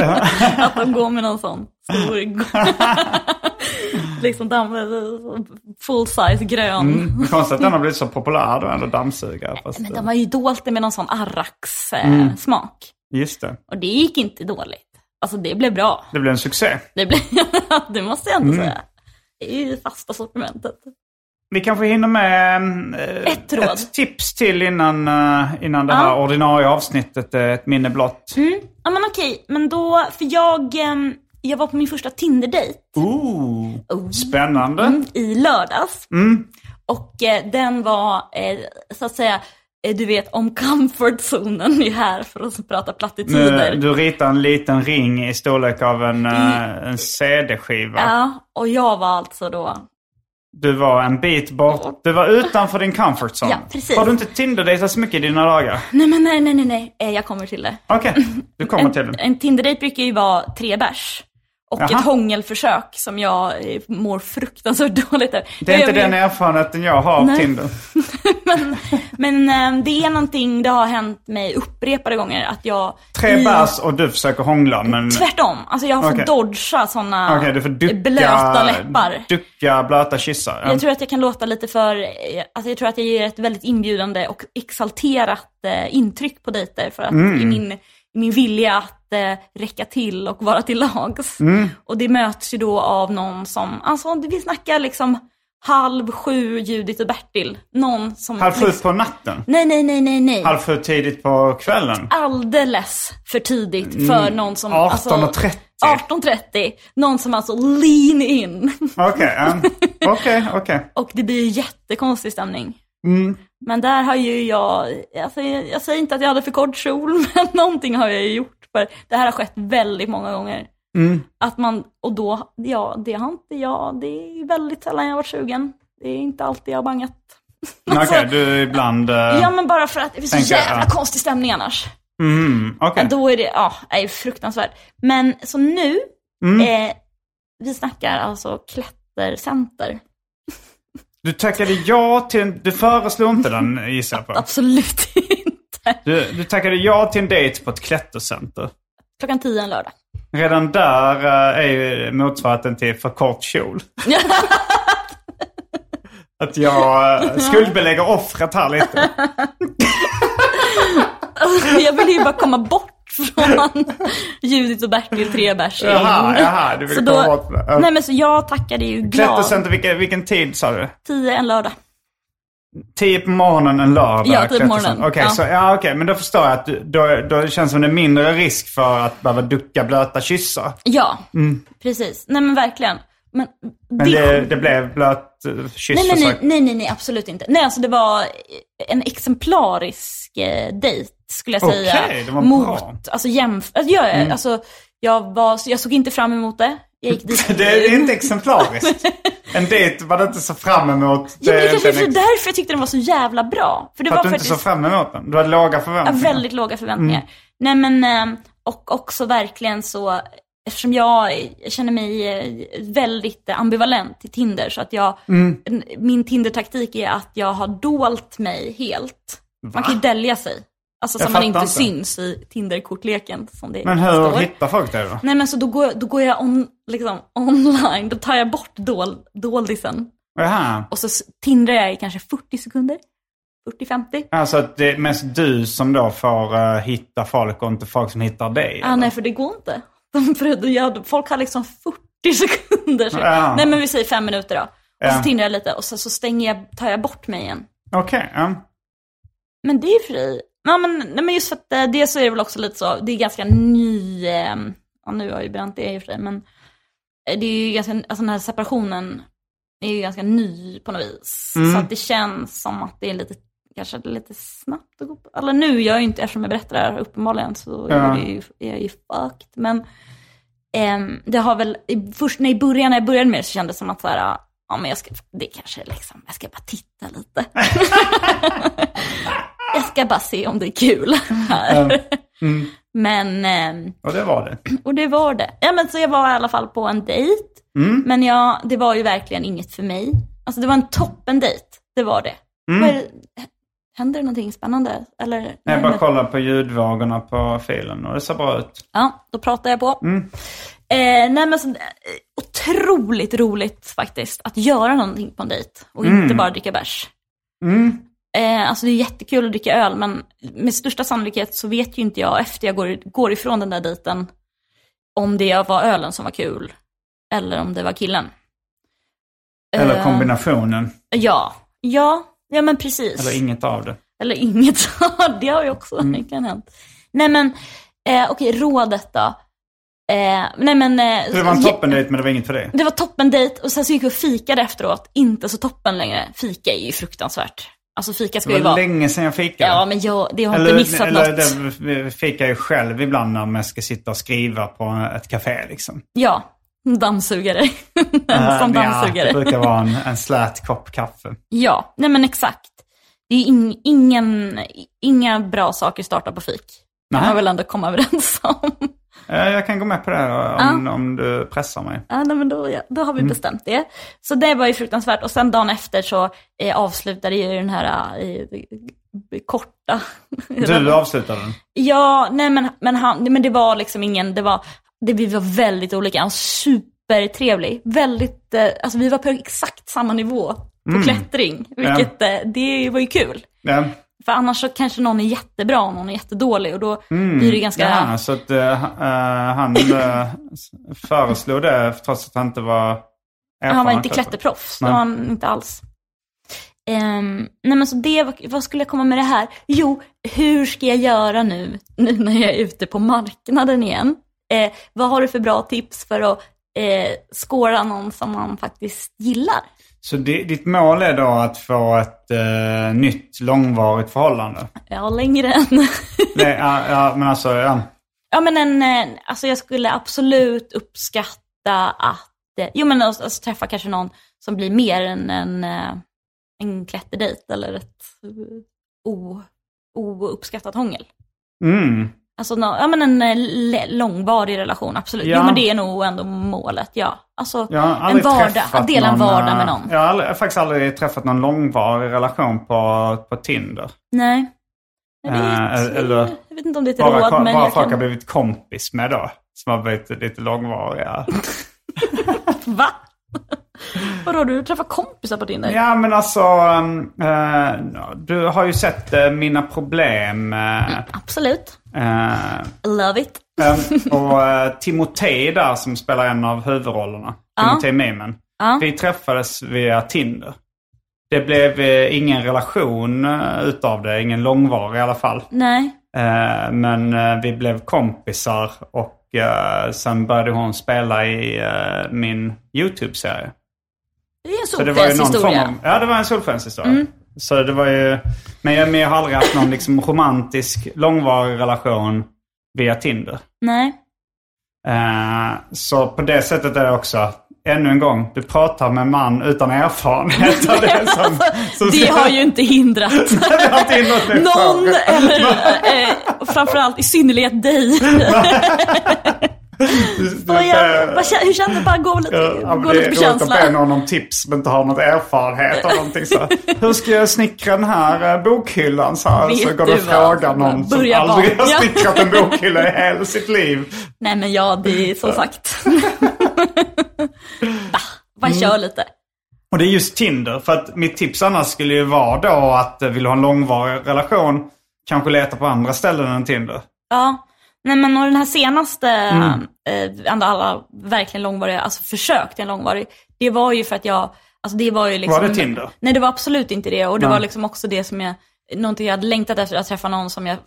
B: att de går med någon sån stor, liksom damm, full size grön.
A: Mm. Det är Konstigt att den har blivit så populär då, ändå dammsugare. Fast, eh,
B: Men de har ju dolt det med någon sån eh, arrax-smak.
A: Just det,
B: Och det gick inte dåligt. Alltså det blev bra.
A: det blev en succé.
B: Det, blev, [LAUGHS] det måste jag ändå säga. Det är ju fasta sortimentet.
A: Vi kanske hinner med eh,
B: Ett råd.
A: tips till innan, eh, innan det här
B: Ja.
A: ordinarie avsnittet är ett minne blott.
B: Ja men okej, men då, för jag, ehm, jag var på min första Tinder-dejt
A: Ooh. Spännande.
B: i lördags. Och eh, den var, eh, så att säga, eh, du vet om comfort-zonen är här för att prata plattityder.
A: Nu, du ritar en liten ring i storlek av en, eh, en CD-skiva.
B: Ja, och jag var alltså då,
A: Du var en bit bort. Du var utanför din comfort zone.
B: Ja, precis.
A: Har du inte Tinder-dejtat så mycket i dina dagar?
B: nej men nej nej nej, nej, Eh, jag kommer till det.
A: Okej, du kommer till
B: En,
A: det.
B: en Tinder-dejt brukar ju vara tre bärs. Och
A: Jaha.
B: ett hångelförsök som jag eh, mår fruktansvärt [LAUGHS] dåligt över.
A: Det är inte
B: jag vet.
A: den erfarenheten jag har av
B: Nej.
A: Tinder.
B: [LAUGHS] men, men eh, det är någonting, det har hänt mig upprepade gånger att jag...
A: Tre
B: i-
A: bärs och du försöker hångla men... Okej,
B: Tvärtom, alltså jag har fått
A: Okej.
B: dodga sådana
A: du får ducka...
B: blöta läppar.
A: Ducka blöta kyssar. Ja.
B: Jag tror att jag kan låta lite för, eh, alltså jag tror att jag ger ett väldigt inbjudande och exalterat eh, intryck på dejter för att
A: Mm.
B: i, min, i min vilja att eh, räcka till och vara till lags.
A: Mm.
B: Och det möts ju då av någon som, alltså vi snackar liksom halv sju, Judith och Bertil. Någon som...
A: Halv sju på natten?
B: Nej, nej, nej, nej, nej.
A: Halv sju tidigt på kvällen?
B: alldeles för tidigt för
A: Mm.
B: någon som...
A: 18.30.
B: 18.30. Någon som alltså lean in.
A: Okej, ja. okej, okej.
B: Och det blir ju jättekonstig stämning.
A: Mm.
B: Men där har ju jag, alltså, jag, jag säger inte att jag hade för kort kjol, [LAUGHS] men någonting har jag ju gjort. För det här har skett väldigt många gånger.
A: Mm.
B: Att man, och då, ja, det har inte jag, det är väldigt sällan jag har varit sugen. Det är inte alltid jag har bangat.
A: [LAUGHS] Men Okej,
B: Alltså,
A: du är ibland... eh,
B: Ja men bara för att det finns så
A: Tänker jag,
B: jävla
A: ja.
B: konstig stämning annars.
A: mm, okej.
B: Då är det, ja, det är fruktansvärt. Men så nu,
A: Mm.
B: eh, vi snackar alltså klättercenter.
A: Du tackade ja till en... Du föreslog inte den gissar jag på.
B: Absolut [LAUGHS] inte.
A: Du, du tackade ja till en dejt på ett klättercenter.
B: Klockan tio en lördag. [LAUGHS]
A: Redan där eh, är ju motsvarigheten till för
B: [LAUGHS]
A: kort kjol. Att jag eh, skuldbelägger offret här lite.
B: Jag ville ju bara komma bort från [LAUGHS] Judith och Bertil Trebers.
A: Jaha, jaha, du vill
B: Så
A: komma
B: då,
A: bort med- ja.
B: nej men så jag tackade ju glad.
A: Klättercenter, vilken, vilken tid sa du?
B: 10 en lördag.
A: 10 på morgonen en lördag?
B: Ja, 10 på
A: Klättercenter.
B: morgonen.
A: Okej,
B: Ja.
A: så, ja, okej, men då förstår jag att du, då, då känns det som det är mindre risk för att behöva ducka blöta kyssar.
B: Ja, precis. Nej men verkligen. Men,
A: Mm. Men det, det blev blöt eh, kyss
B: nej, nej,
A: försök.
B: nej, nej, nej, nej, absolut inte. Nej, alltså det var en exemplarisk eh, dejt skulle jag
A: Okej,
B: säga.
A: det var
B: mot,
A: bra. Mm.
B: Alltså jämf- alltså, jag, alltså, jag, var, jag såg inte fram emot det. Jag gick dit.
A: [LAUGHS] Det är
B: [LAUGHS]
A: inte exemplariskt. En dejt var det inte så fram emot.
B: Ja, men det
A: är
B: kanske
A: inte
B: är
A: en-
B: därför jag tyckte den var så jävla bra. För det
A: För
B: var
A: att du inte
B: faktiskt
A: såg fram emot den. Du hade låga
B: ja,
A: förväntningar.
B: väldigt låga förväntningar.
A: Mm.
B: Nej men, eh, och också verkligen så, eftersom jag känner mig eh, väldigt ambivalent till Tinder, så att jag,
A: Mm.
B: n- min Tinder-taktik är att jag har dolt mig helt. Man kan ju dälja sig. Alltså
A: Jag
B: så man
A: fattar
B: inte,
A: inte.
B: syns i Tinder-kortleken som det
A: Men hur
B: står.
A: hittar folk det då?
B: Nej men så då går, jag- då går jag on, liksom, online, då tar jag bort dol, doldisen.
A: Jaha.
B: Och så s- tindrar jag i kanske 40 sekunder. 40-50.
A: Alltså att det är mest du som då får eh, hitta folk och inte folk som hittar dig?
B: Ah,
A: eller?
B: nej, för det går inte. [LAUGHS] De, för det- jag, folk har liksom 40 [LAUGHS] sekunder. Så,
A: Ja.
B: Nej, men vi säger fem minuter då. Och
A: Ja.
B: så tindrar jag lite och så, så stänger jag, tar jag bort mig igen.
A: Okej, ja.
B: Men det är ju för dig. Ja, men, nej, men just för att eh, det så är det väl också lite så, det är ganska ny, eh, ja, nu har jag ju bränt det i och för sig, men eh, det är ju ganska, alltså den här separationen är ju ganska ny på något vis. Så att det känns som att det är lite, kanske lite snabbt att gå på, eller nu gör jag ju inte, eftersom jag berättar det här uppenbarligen så
A: Ja.
B: är, det ju, är jag ju fucked. Men ehm, det har väl, i- först när i början, när jag började med det så kändes det som att så här, ja men jag ska, det kanske är liksom, jag ska bara titta lite. jag ska bara se om det är kul
A: Mm.
B: här. Men, ehm,
A: Och det var det.
B: och det var det. Ja men så jag var i alla fall på en dejt.
A: Mm.
B: Men jag, det var ju verkligen inget för mig. Alltså det var en toppen dejt, det var det. Vad är det- Händer det någonting spännande? Eller?
A: Mm. Jag
B: Nej,
A: bara
B: men-
A: kollar på ljudvågorna på filen och det ser bra ut.
B: Ja, då pratar jag på.
A: Mm.
B: Eh, nej men så, eh, otroligt roligt faktiskt att göra någonting på en dejt och inte
A: Mm.
B: bara dricka bärs. Eh, alltså det är jättekul att dricka öl men med största sannolikhet så vet ju inte jag efter jag går, går ifrån den där dejten om det var ölen som var kul eller om det var killen.
A: Eller
B: Eh,
A: kombinationen.
B: Ja, ja, ja men precis.
A: Eller Mm. inget av det.
B: Eller inget. [LAUGHS] det har ju också [LAUGHS] kan hänt. Nej men, eh, okej, rådet då. Eh, nej men... Eh,
A: Det var en toppen men det var inget för dig.
B: Det var toppen dejt och sen så gick vi och fikade efteråt. Inte så toppen längre. Fika är ju fruktansvärt. Alltså fika ska
A: Det
B: ju
A: var
B: vara...
A: länge sedan jag fikade.
B: Ja men jag, det har inte
A: eller
B: missat
A: eller
B: något.
A: det fikar jag ju själv ibland när man ska sitta och skriva på ett café liksom.
B: Ja, dammsugare. [LAUGHS] Som
A: Eh, Ja,
B: dammsugare.
A: det brukar vara en, en slät kopp kaffe.
B: Ja, nej men exakt. Det är in, ingen, inga bra saker startar på fik. Det kan
A: Nej.
B: man väl ändå komma [LAUGHS] överens om.
A: Eh, Jag kan gå med på det eh, om, om du pressar mig.
B: Ja, nej, men då, ja, då har vi
A: Mm.
B: bestämt det. Så det var ju fruktansvärt. Och sen dagen efter så eh, avslutade ju den här eh, korta...
A: Du avslutar den.
B: Ja, nej men, men, han, nej, men det var liksom ingen, det var, det, vi var väldigt olika. Han var supertrevlig. Väldigt, eh, alltså vi var på exakt samma nivå på
A: Mm.
B: klättring. Vilket, eh, det var ju kul.
A: Ja.
B: För annars så kanske någon är jättebra och någon är jättedålig och då blir det ganska...
A: Mm. Ja, så att eh, ha- eh, han eh, s- föreslog det trots att han inte var erfaren
B: Han var inte
A: klättrare.
B: klätterproffs, det
A: Nej.
B: var han inte alls. Ehm, nej men så det, var- vad skulle jag komma med det här? Jo, hur ska jag göra nu, [LAUGHS] nu när jag är ute på marknaden igen? Eh, vad har du för bra tips för att eh, skåra någon som man faktiskt gillar?
A: Så di, ditt mål är då att få ett eh, nytt långvarigt förhållande?
B: Ja, längre än... [LAUGHS]
A: Nej, ja, ja, men alltså, ja.
B: ja men en, eh, alltså jag skulle absolut uppskatta att, eh, jo men alltså, alltså, träffa kanske någon som blir mer än en, eh, en klätterdejt eller ett eh, o, ouppskattat hångel.
A: Mm.
B: Alltså nå- ja, men en eh, le- långvarig relation, absolut.
A: Ja.
B: Jo men det är nog ändå målet, ja. Alltså
A: Jag har
B: en
A: aldrig
B: vardag,
A: träffat
B: att dela en
A: någon,
B: vardag med
A: eh,
B: någon.
A: Jag har, aldrig, jag har faktiskt aldrig träffat någon långvarig relation på, på Tinder.
B: Nej. Jag
A: Eh,
B: vet,
A: eller-
B: jag vet inte om det är ett
A: Bara,
B: råd,
A: ko-
B: men
A: bara
B: jag
A: folk har
B: kan...
A: blivit kompis med då. Som har blivit lite långvariga.
B: Va? [LAUGHS] Vadå, du träffar kompisar på Tinder?
A: Ja men alltså, um, eh, du har ju sett eh, Mina Problem. eh,
B: Absolut.
A: Eh,
B: Love it.
A: Ehm, och uh, Timotej där som spelar en av huvudrollerna. Timotej Mimen. Vi träffades via Tinder. Det blev eh, ingen relation eh, utav det, ingen långvarig i alla fall.
B: Nej.
A: Eh, men eh, vi blev kompisar och eh, sen började hon spela i eh, min YouTube-serie.
B: Det är en
A: Så det var ju någon form av,
B: solskenshistoria.
A: ja, det var en solskenshistoria.
B: Mm.
A: Så det var ju, men jag, men jag har aldrig haft någon liksom romantisk långvarig relation via Tinder.
B: Nej.
A: Eh, så på det sättet är det också, ännu en gång, du pratar med en man utan erfarenhet av det som...
B: [LAUGHS]
A: som
B: [LAUGHS] Det har
A: [LAUGHS]
B: ju inte hindrat
A: Jag har inte hindrat mig
B: någon,
A: från.
B: eller eh, framförallt i synnerhet
A: [LAUGHS]
B: dig. Vad jag, vad, kä- hur känner du? Bara gå lite,
A: Eh, Ja, men
B: gå
A: det
B: lite på
A: är roligt att be
B: känsla.
A: någon om tips men inte har något erfarenhet av någonting. Så här, Hur ska jag snickra den här eh, bokhyllan? Så, här,
B: Vet
A: så går
B: du
A: du och
B: vad?
A: frågar någon som
B: Börja
A: aldrig har
B: baka.
A: snickrat en bokhylla i hela sitt liv.
B: Nej men ja, det är som
A: [LAUGHS]
B: sagt. [LAUGHS] Va? Bara kör lite.
A: Och det är just Tinder. För att mitt tips annars skulle ju vara då att eh, vill du ha en långvarig relation, kanske leta på andra ställen än Tinder.
B: Ja. Nej men och den här senaste,
A: Mm.
B: eh, ändå alla verkligen långvariga, alltså försök till en långvarig, det var ju för att jag, alltså det var ju liksom...
A: Var det Tinder?
B: Nej det var absolut inte det och det
A: Nej.
B: var liksom också det som jag, någonting jag hade längtat efter, att träffa någon som jag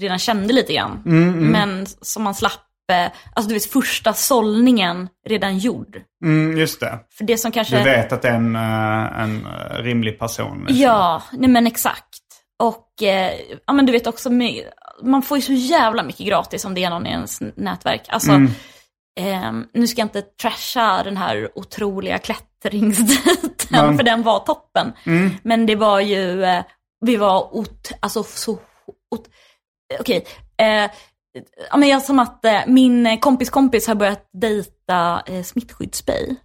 B: redan kände lite grann.
A: Mm,
B: Men som man slapp, eh, alltså du vet första sållningen redan gjord.
A: Mm, just det.
B: För det som kanske...
A: Du vet att det är en, eh, en eh, rimlig person. liksom.
B: Ja, nej men exakt. Och eh, ja, men du vet också, my- man får ju så jävla mycket gratis om det är någon i ens nätverk. Alltså, ehm, nu ska jag inte trasha den här otroliga klättringsdejten,
A: Men-
B: för den var toppen. Men det var ju, eh, vi var ot- alltså så, ot- okej. Eh, ja, men jag som att eh, min kompis kompis har börjat dejta eh, smittskyddsspej.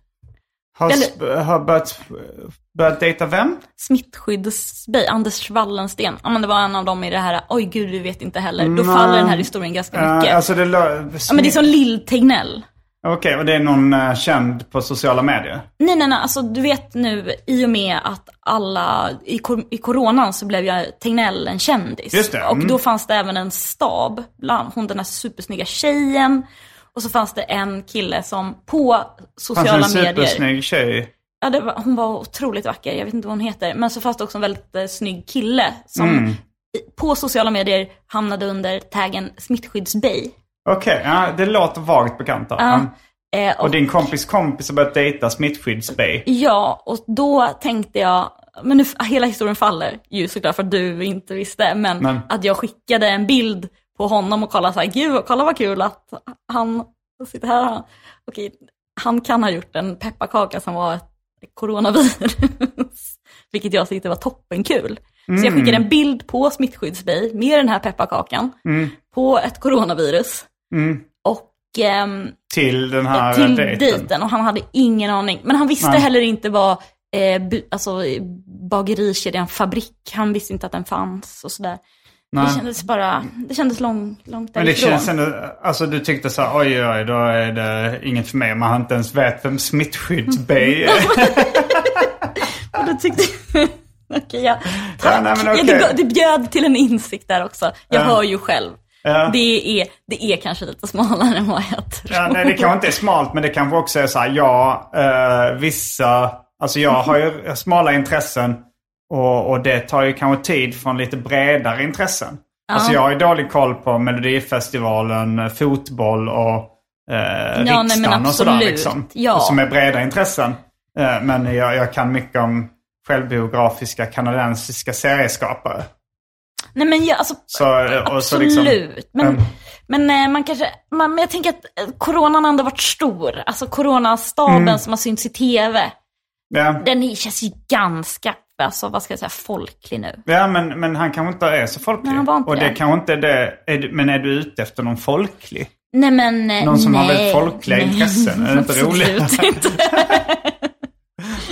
A: Har,
B: Eller-
A: sp- har börjat, börjat dejta vem?
B: smittskyddsbej, Anders Wallensten. Ja men det var en av dem i det här, oj gud vi vet inte heller. Då faller den här historien ganska mycket.
A: Eh, alltså det lö-
B: ja men det är som Lill Tegnell.
A: Okej, och det är någon eh, känd på sociala medier?
B: Nej nej nej, alltså du vet nu i och med att alla, i, kor- i coronan så blev jag Tegnell en kändis.
A: Just det,
B: Och
A: mm.
B: då fanns det även en stab, bland hon den här supersnygga tjejen. Och så fanns det en kille som på
A: Fanns
B: sociala
A: en
B: medier.
A: supersnygg tjej.
B: Ja, det var, hon var otroligt vacker, jag vet inte vad hon heter. Men så fanns det också en väldigt eh, snygg kille som i- på sociala medier hamnade under taggen smittskyddsbej.
A: Okej, ja, det låter vagt bekant. då.
B: Ja.
A: Mm.
B: Eh, och,
A: Och din kompis kompis har börjat dejta smittskyddsbej.
B: Ja, och då tänkte jag, men nu, hela historien faller ju såklart för att du inte visste, men
A: Men-
B: att jag skickade en bild på honom och kollade så här, gud kolla vad kul att han sitter här. Han, okej, han kan ha gjort en pepparkaka som var ett coronavirus, [LAUGHS] vilket jag tyckte var toppenkul. Så jag skickade en bild på smittskyddsbej med den här pepparkakan på ett coronavirus. Och ehm,
A: Till den här eh,
B: till
A: dejten.
B: dejten och han hade ingen aning. Men han visste
A: Nej.
B: heller inte vad eh, bu- alltså, eh, bagerikedjan Fabrik, han visste inte att den fanns och sådär.
A: Nej.
B: Det kändes bara, det kändes lång, långt
A: Men det
B: därifrån.
A: känns ändå, alltså du tyckte så här, oj oj, då är det inget för mig. Man har inte ens vet
B: [LAUGHS]
A: vem smittskyddsbej är.
B: Och då tyckte [LAUGHS] Okej, ja. Tack.
A: Ja, nej, men
B: ja,
A: okej.
B: det, det bjöd till en insikt där också. Jag hör ju själv.
A: Ja.
B: Det, är, det är kanske lite smalare än vad jag tror.
A: Ja, nej, det kanske inte är smalt, men det kanske också är så här, ja, eh, vissa, alltså jag har ju smala intressen och, och det tar ju kanske tid från lite bredare intressen. Alltså jag har ju dålig koll på Melodifestivalen, eh, fotboll och eh, riksdagen
B: nej, men
A: och sådär
B: absolut.
A: liksom.
B: Ja.
A: Som är breda intressen. Eh, men jag, jag kan mycket om självbiografiska kanadensiska serieskapare.
B: Nej men jag, alltså,
A: Så, eh, och så
B: Absolut.
A: liksom-
B: men,
A: Mm.
B: men eh, man kanske, man, men jag tänker att eh, coronan har ändå varit stor. Alltså coronastaben
A: Mm.
B: som har synts i tv,
A: Ja.
B: den är- känns ju ganska, alltså vad ska jag säga, folklig nu.
A: Ja, men, men han kanske inte är så folklig.
B: Nej, han var inte
A: och det
B: det.
A: kanske inte är det. Är du, men är du ute efter någon folklig?
B: Nej men, eh,
A: Någon som
B: nej,
A: har väldigt folkliga
B: nej,
A: intressen, är det inte
B: absolut
A: roligt? [LAUGHS]
B: inte.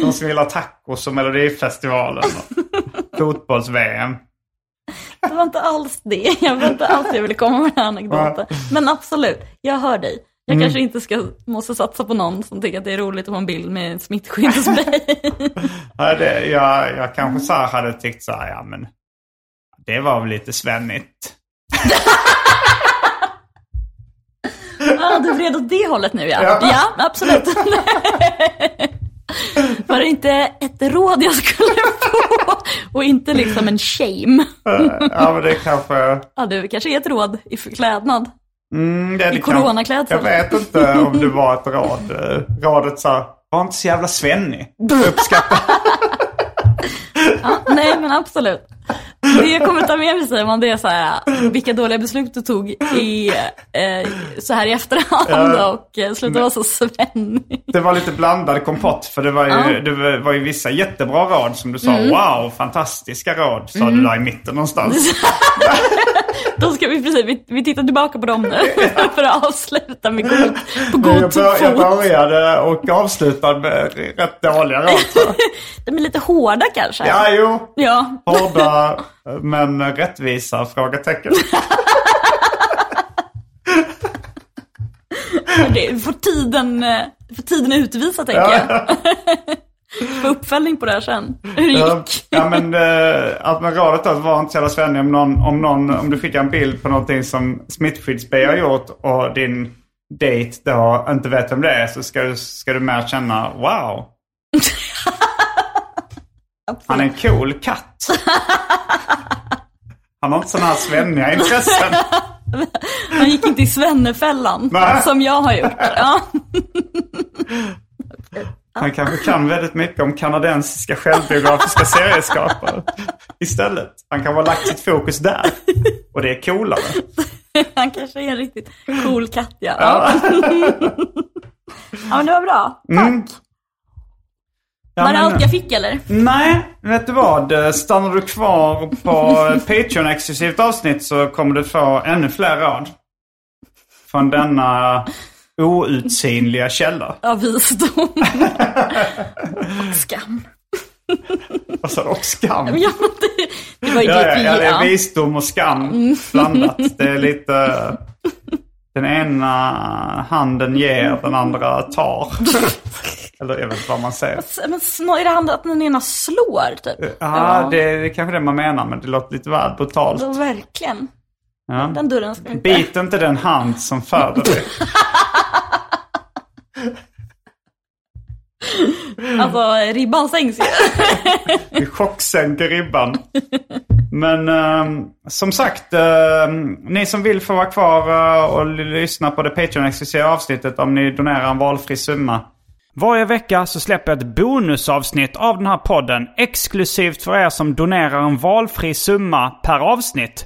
A: Någon som vill ha tacos och
B: [LAUGHS]
A: Melodifestivalen och fotbolls-VM?
B: Det var inte alls det. Jag var inte alls det jag ville komma med den här anekdoten. Men absolut, jag hör dig. Jag
A: Mm.
B: kanske inte ska, måste satsa på någon som tycker att det är roligt att ha en bild med en smittskyddsbej.
A: Ja, det, jag, jag kanske så här hade tyckt så här, ja men det var väl lite svennigt.
B: Ja, du vred åt det hållet nu ja. Ja, absolut. [LAUGHS] Var det inte ett råd jag skulle få och inte liksom en shame?
A: Ja, men det kanske...
B: Ja, det kanske är ett råd i förklädnad.
A: Mm, det, är det
B: coronaklädsel.
A: Kanske, jag vet inte om det var
B: [LAUGHS]
A: ett råd. Eh, Rådet sa, var inte så jävla svennig. Uppskatta.
B: Ja, nej, men absolut. Det jag kommer ta med mig Simon, det är så här, vilka dåliga beslut du tog i, eh, så här i efterhand
A: Ja.
B: och eh, sluta vara så svennig.
A: Det var lite blandad kompott. För det var ju, det var ju vissa jättebra råd som du sa,
B: Mm.
A: wow, fantastiska råd, sa du där i mitten någonstans.
B: Då ska vi precis, vi, vi tittar tillbaka på dem nu [LAUGHS] för att avsluta med god, på [LAUGHS]
A: Jag,
B: god
A: bör, jag
B: fot.
A: började och avslutade med rätt dåliga råd.
B: [LAUGHS]
A: tror jag.
B: De är lite hårda kanske.
A: Ja, jo.
B: Ja.
A: Hårda men rättvisa? Frågetecken.
B: Det får tiden, eh, får tiden utvisa tänker jag. [LAUGHS] Få uppföljning på det här sen. Hur det
A: Ja,
B: gick.
A: ja men eh, att med rådet att vara inte så jävla svennig om någon, om någon, om du skickar en bild på någonting som smittskydds-B har gjort och din date då inte vet vem det är så ska du, ska du mer känna wow. Han är en cool katt. Han har inte sådana här svenniga intressen.
B: Han gick inte i svennefällan
A: Nej.
B: som jag har gjort. Ja. [LAUGHS]
A: Han kanske kan väldigt mycket om kanadensiska självbiografiska serieskapare istället. Han kan ha lagt sitt fokus där. Och det är coolare.
B: Han kanske är en riktigt cool katt ja. Ja, [LAUGHS] ja men det var bra. Tack.
A: Mm. Ja,
B: var det
A: men-
B: allt jag fick eller?
A: Nej, vet du vad? Eh, Stannar du kvar på eh, Patreon-exklusivt avsnitt så kommer du få ännu fler råd. Från denna outsinliga källa.
B: Av visdom.
A: [LAUGHS]
B: Och skam.
A: Och, så, Alltså, och skam.
B: Ja, men det, det var ju
A: Ja,
B: det
A: ja,
B: vi...
A: ja, det är
B: ja.
A: visdom och
B: Mm.
A: skam blandat. Det
B: [LAUGHS]
A: är lite... Den ena handen ger, den andra tar.
B: [LAUGHS]
A: Eller jag vet inte vad man säger.
B: S- Men snå, är det han att den ena slår typ?
A: Ja, det är kanske det man menar, men det låter lite väl brutalt.
B: Ja, verkligen.
A: Ja.
B: Den dörren ska inte...
A: Bit inte den hand som föder dig.
B: Alltså ribban sänks ju.
A: Vi chocksänker ribban. Men ehm, som sagt, ehm, ni som vill får vara kvar eh, och l- lyssna på det Patreon-exklusiva avsnittet om ni donerar en valfri summa. Varje vecka så släpper jag ett bonusavsnitt av den här podden exklusivt för er som donerar en valfri summa per avsnitt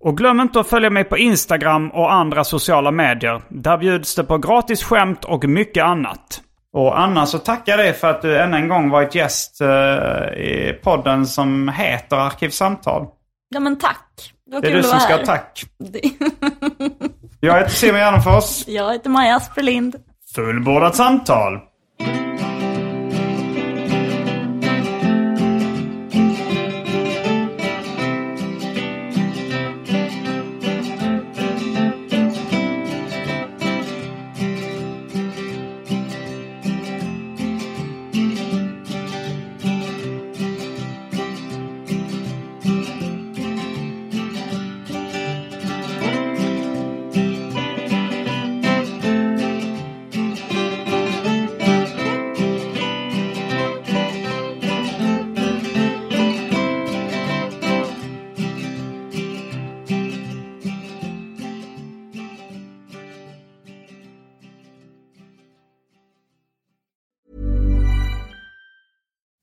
A: Och glöm inte att följa mig på Instagram och andra sociala medier. Där bjuds det på gratis skämt och mycket annat. Och Anna så tackar jag dig för att du än en gång varit gäst eh, i podden som heter Arkivsamtal.
B: Ja men tack. Det var
A: Det är
B: kul
A: du
B: att vara
A: som ska ha
B: här.
A: tack.
B: Det- [LAUGHS]
A: Jag heter Simon Gärdenfors.
B: Jag heter Maja Asperlind.
A: Fullbordat samtal.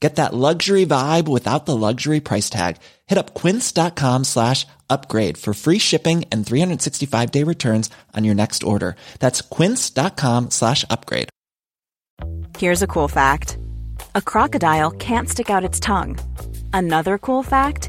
E: Get that luxury vibe without the luxury price tag. Hit up quince.com slash upgrade for free shipping and 365 day returns on your next order. That's quince.com slash upgrade.
D: Here's a cool fact a crocodile can't stick out its tongue. Another cool fact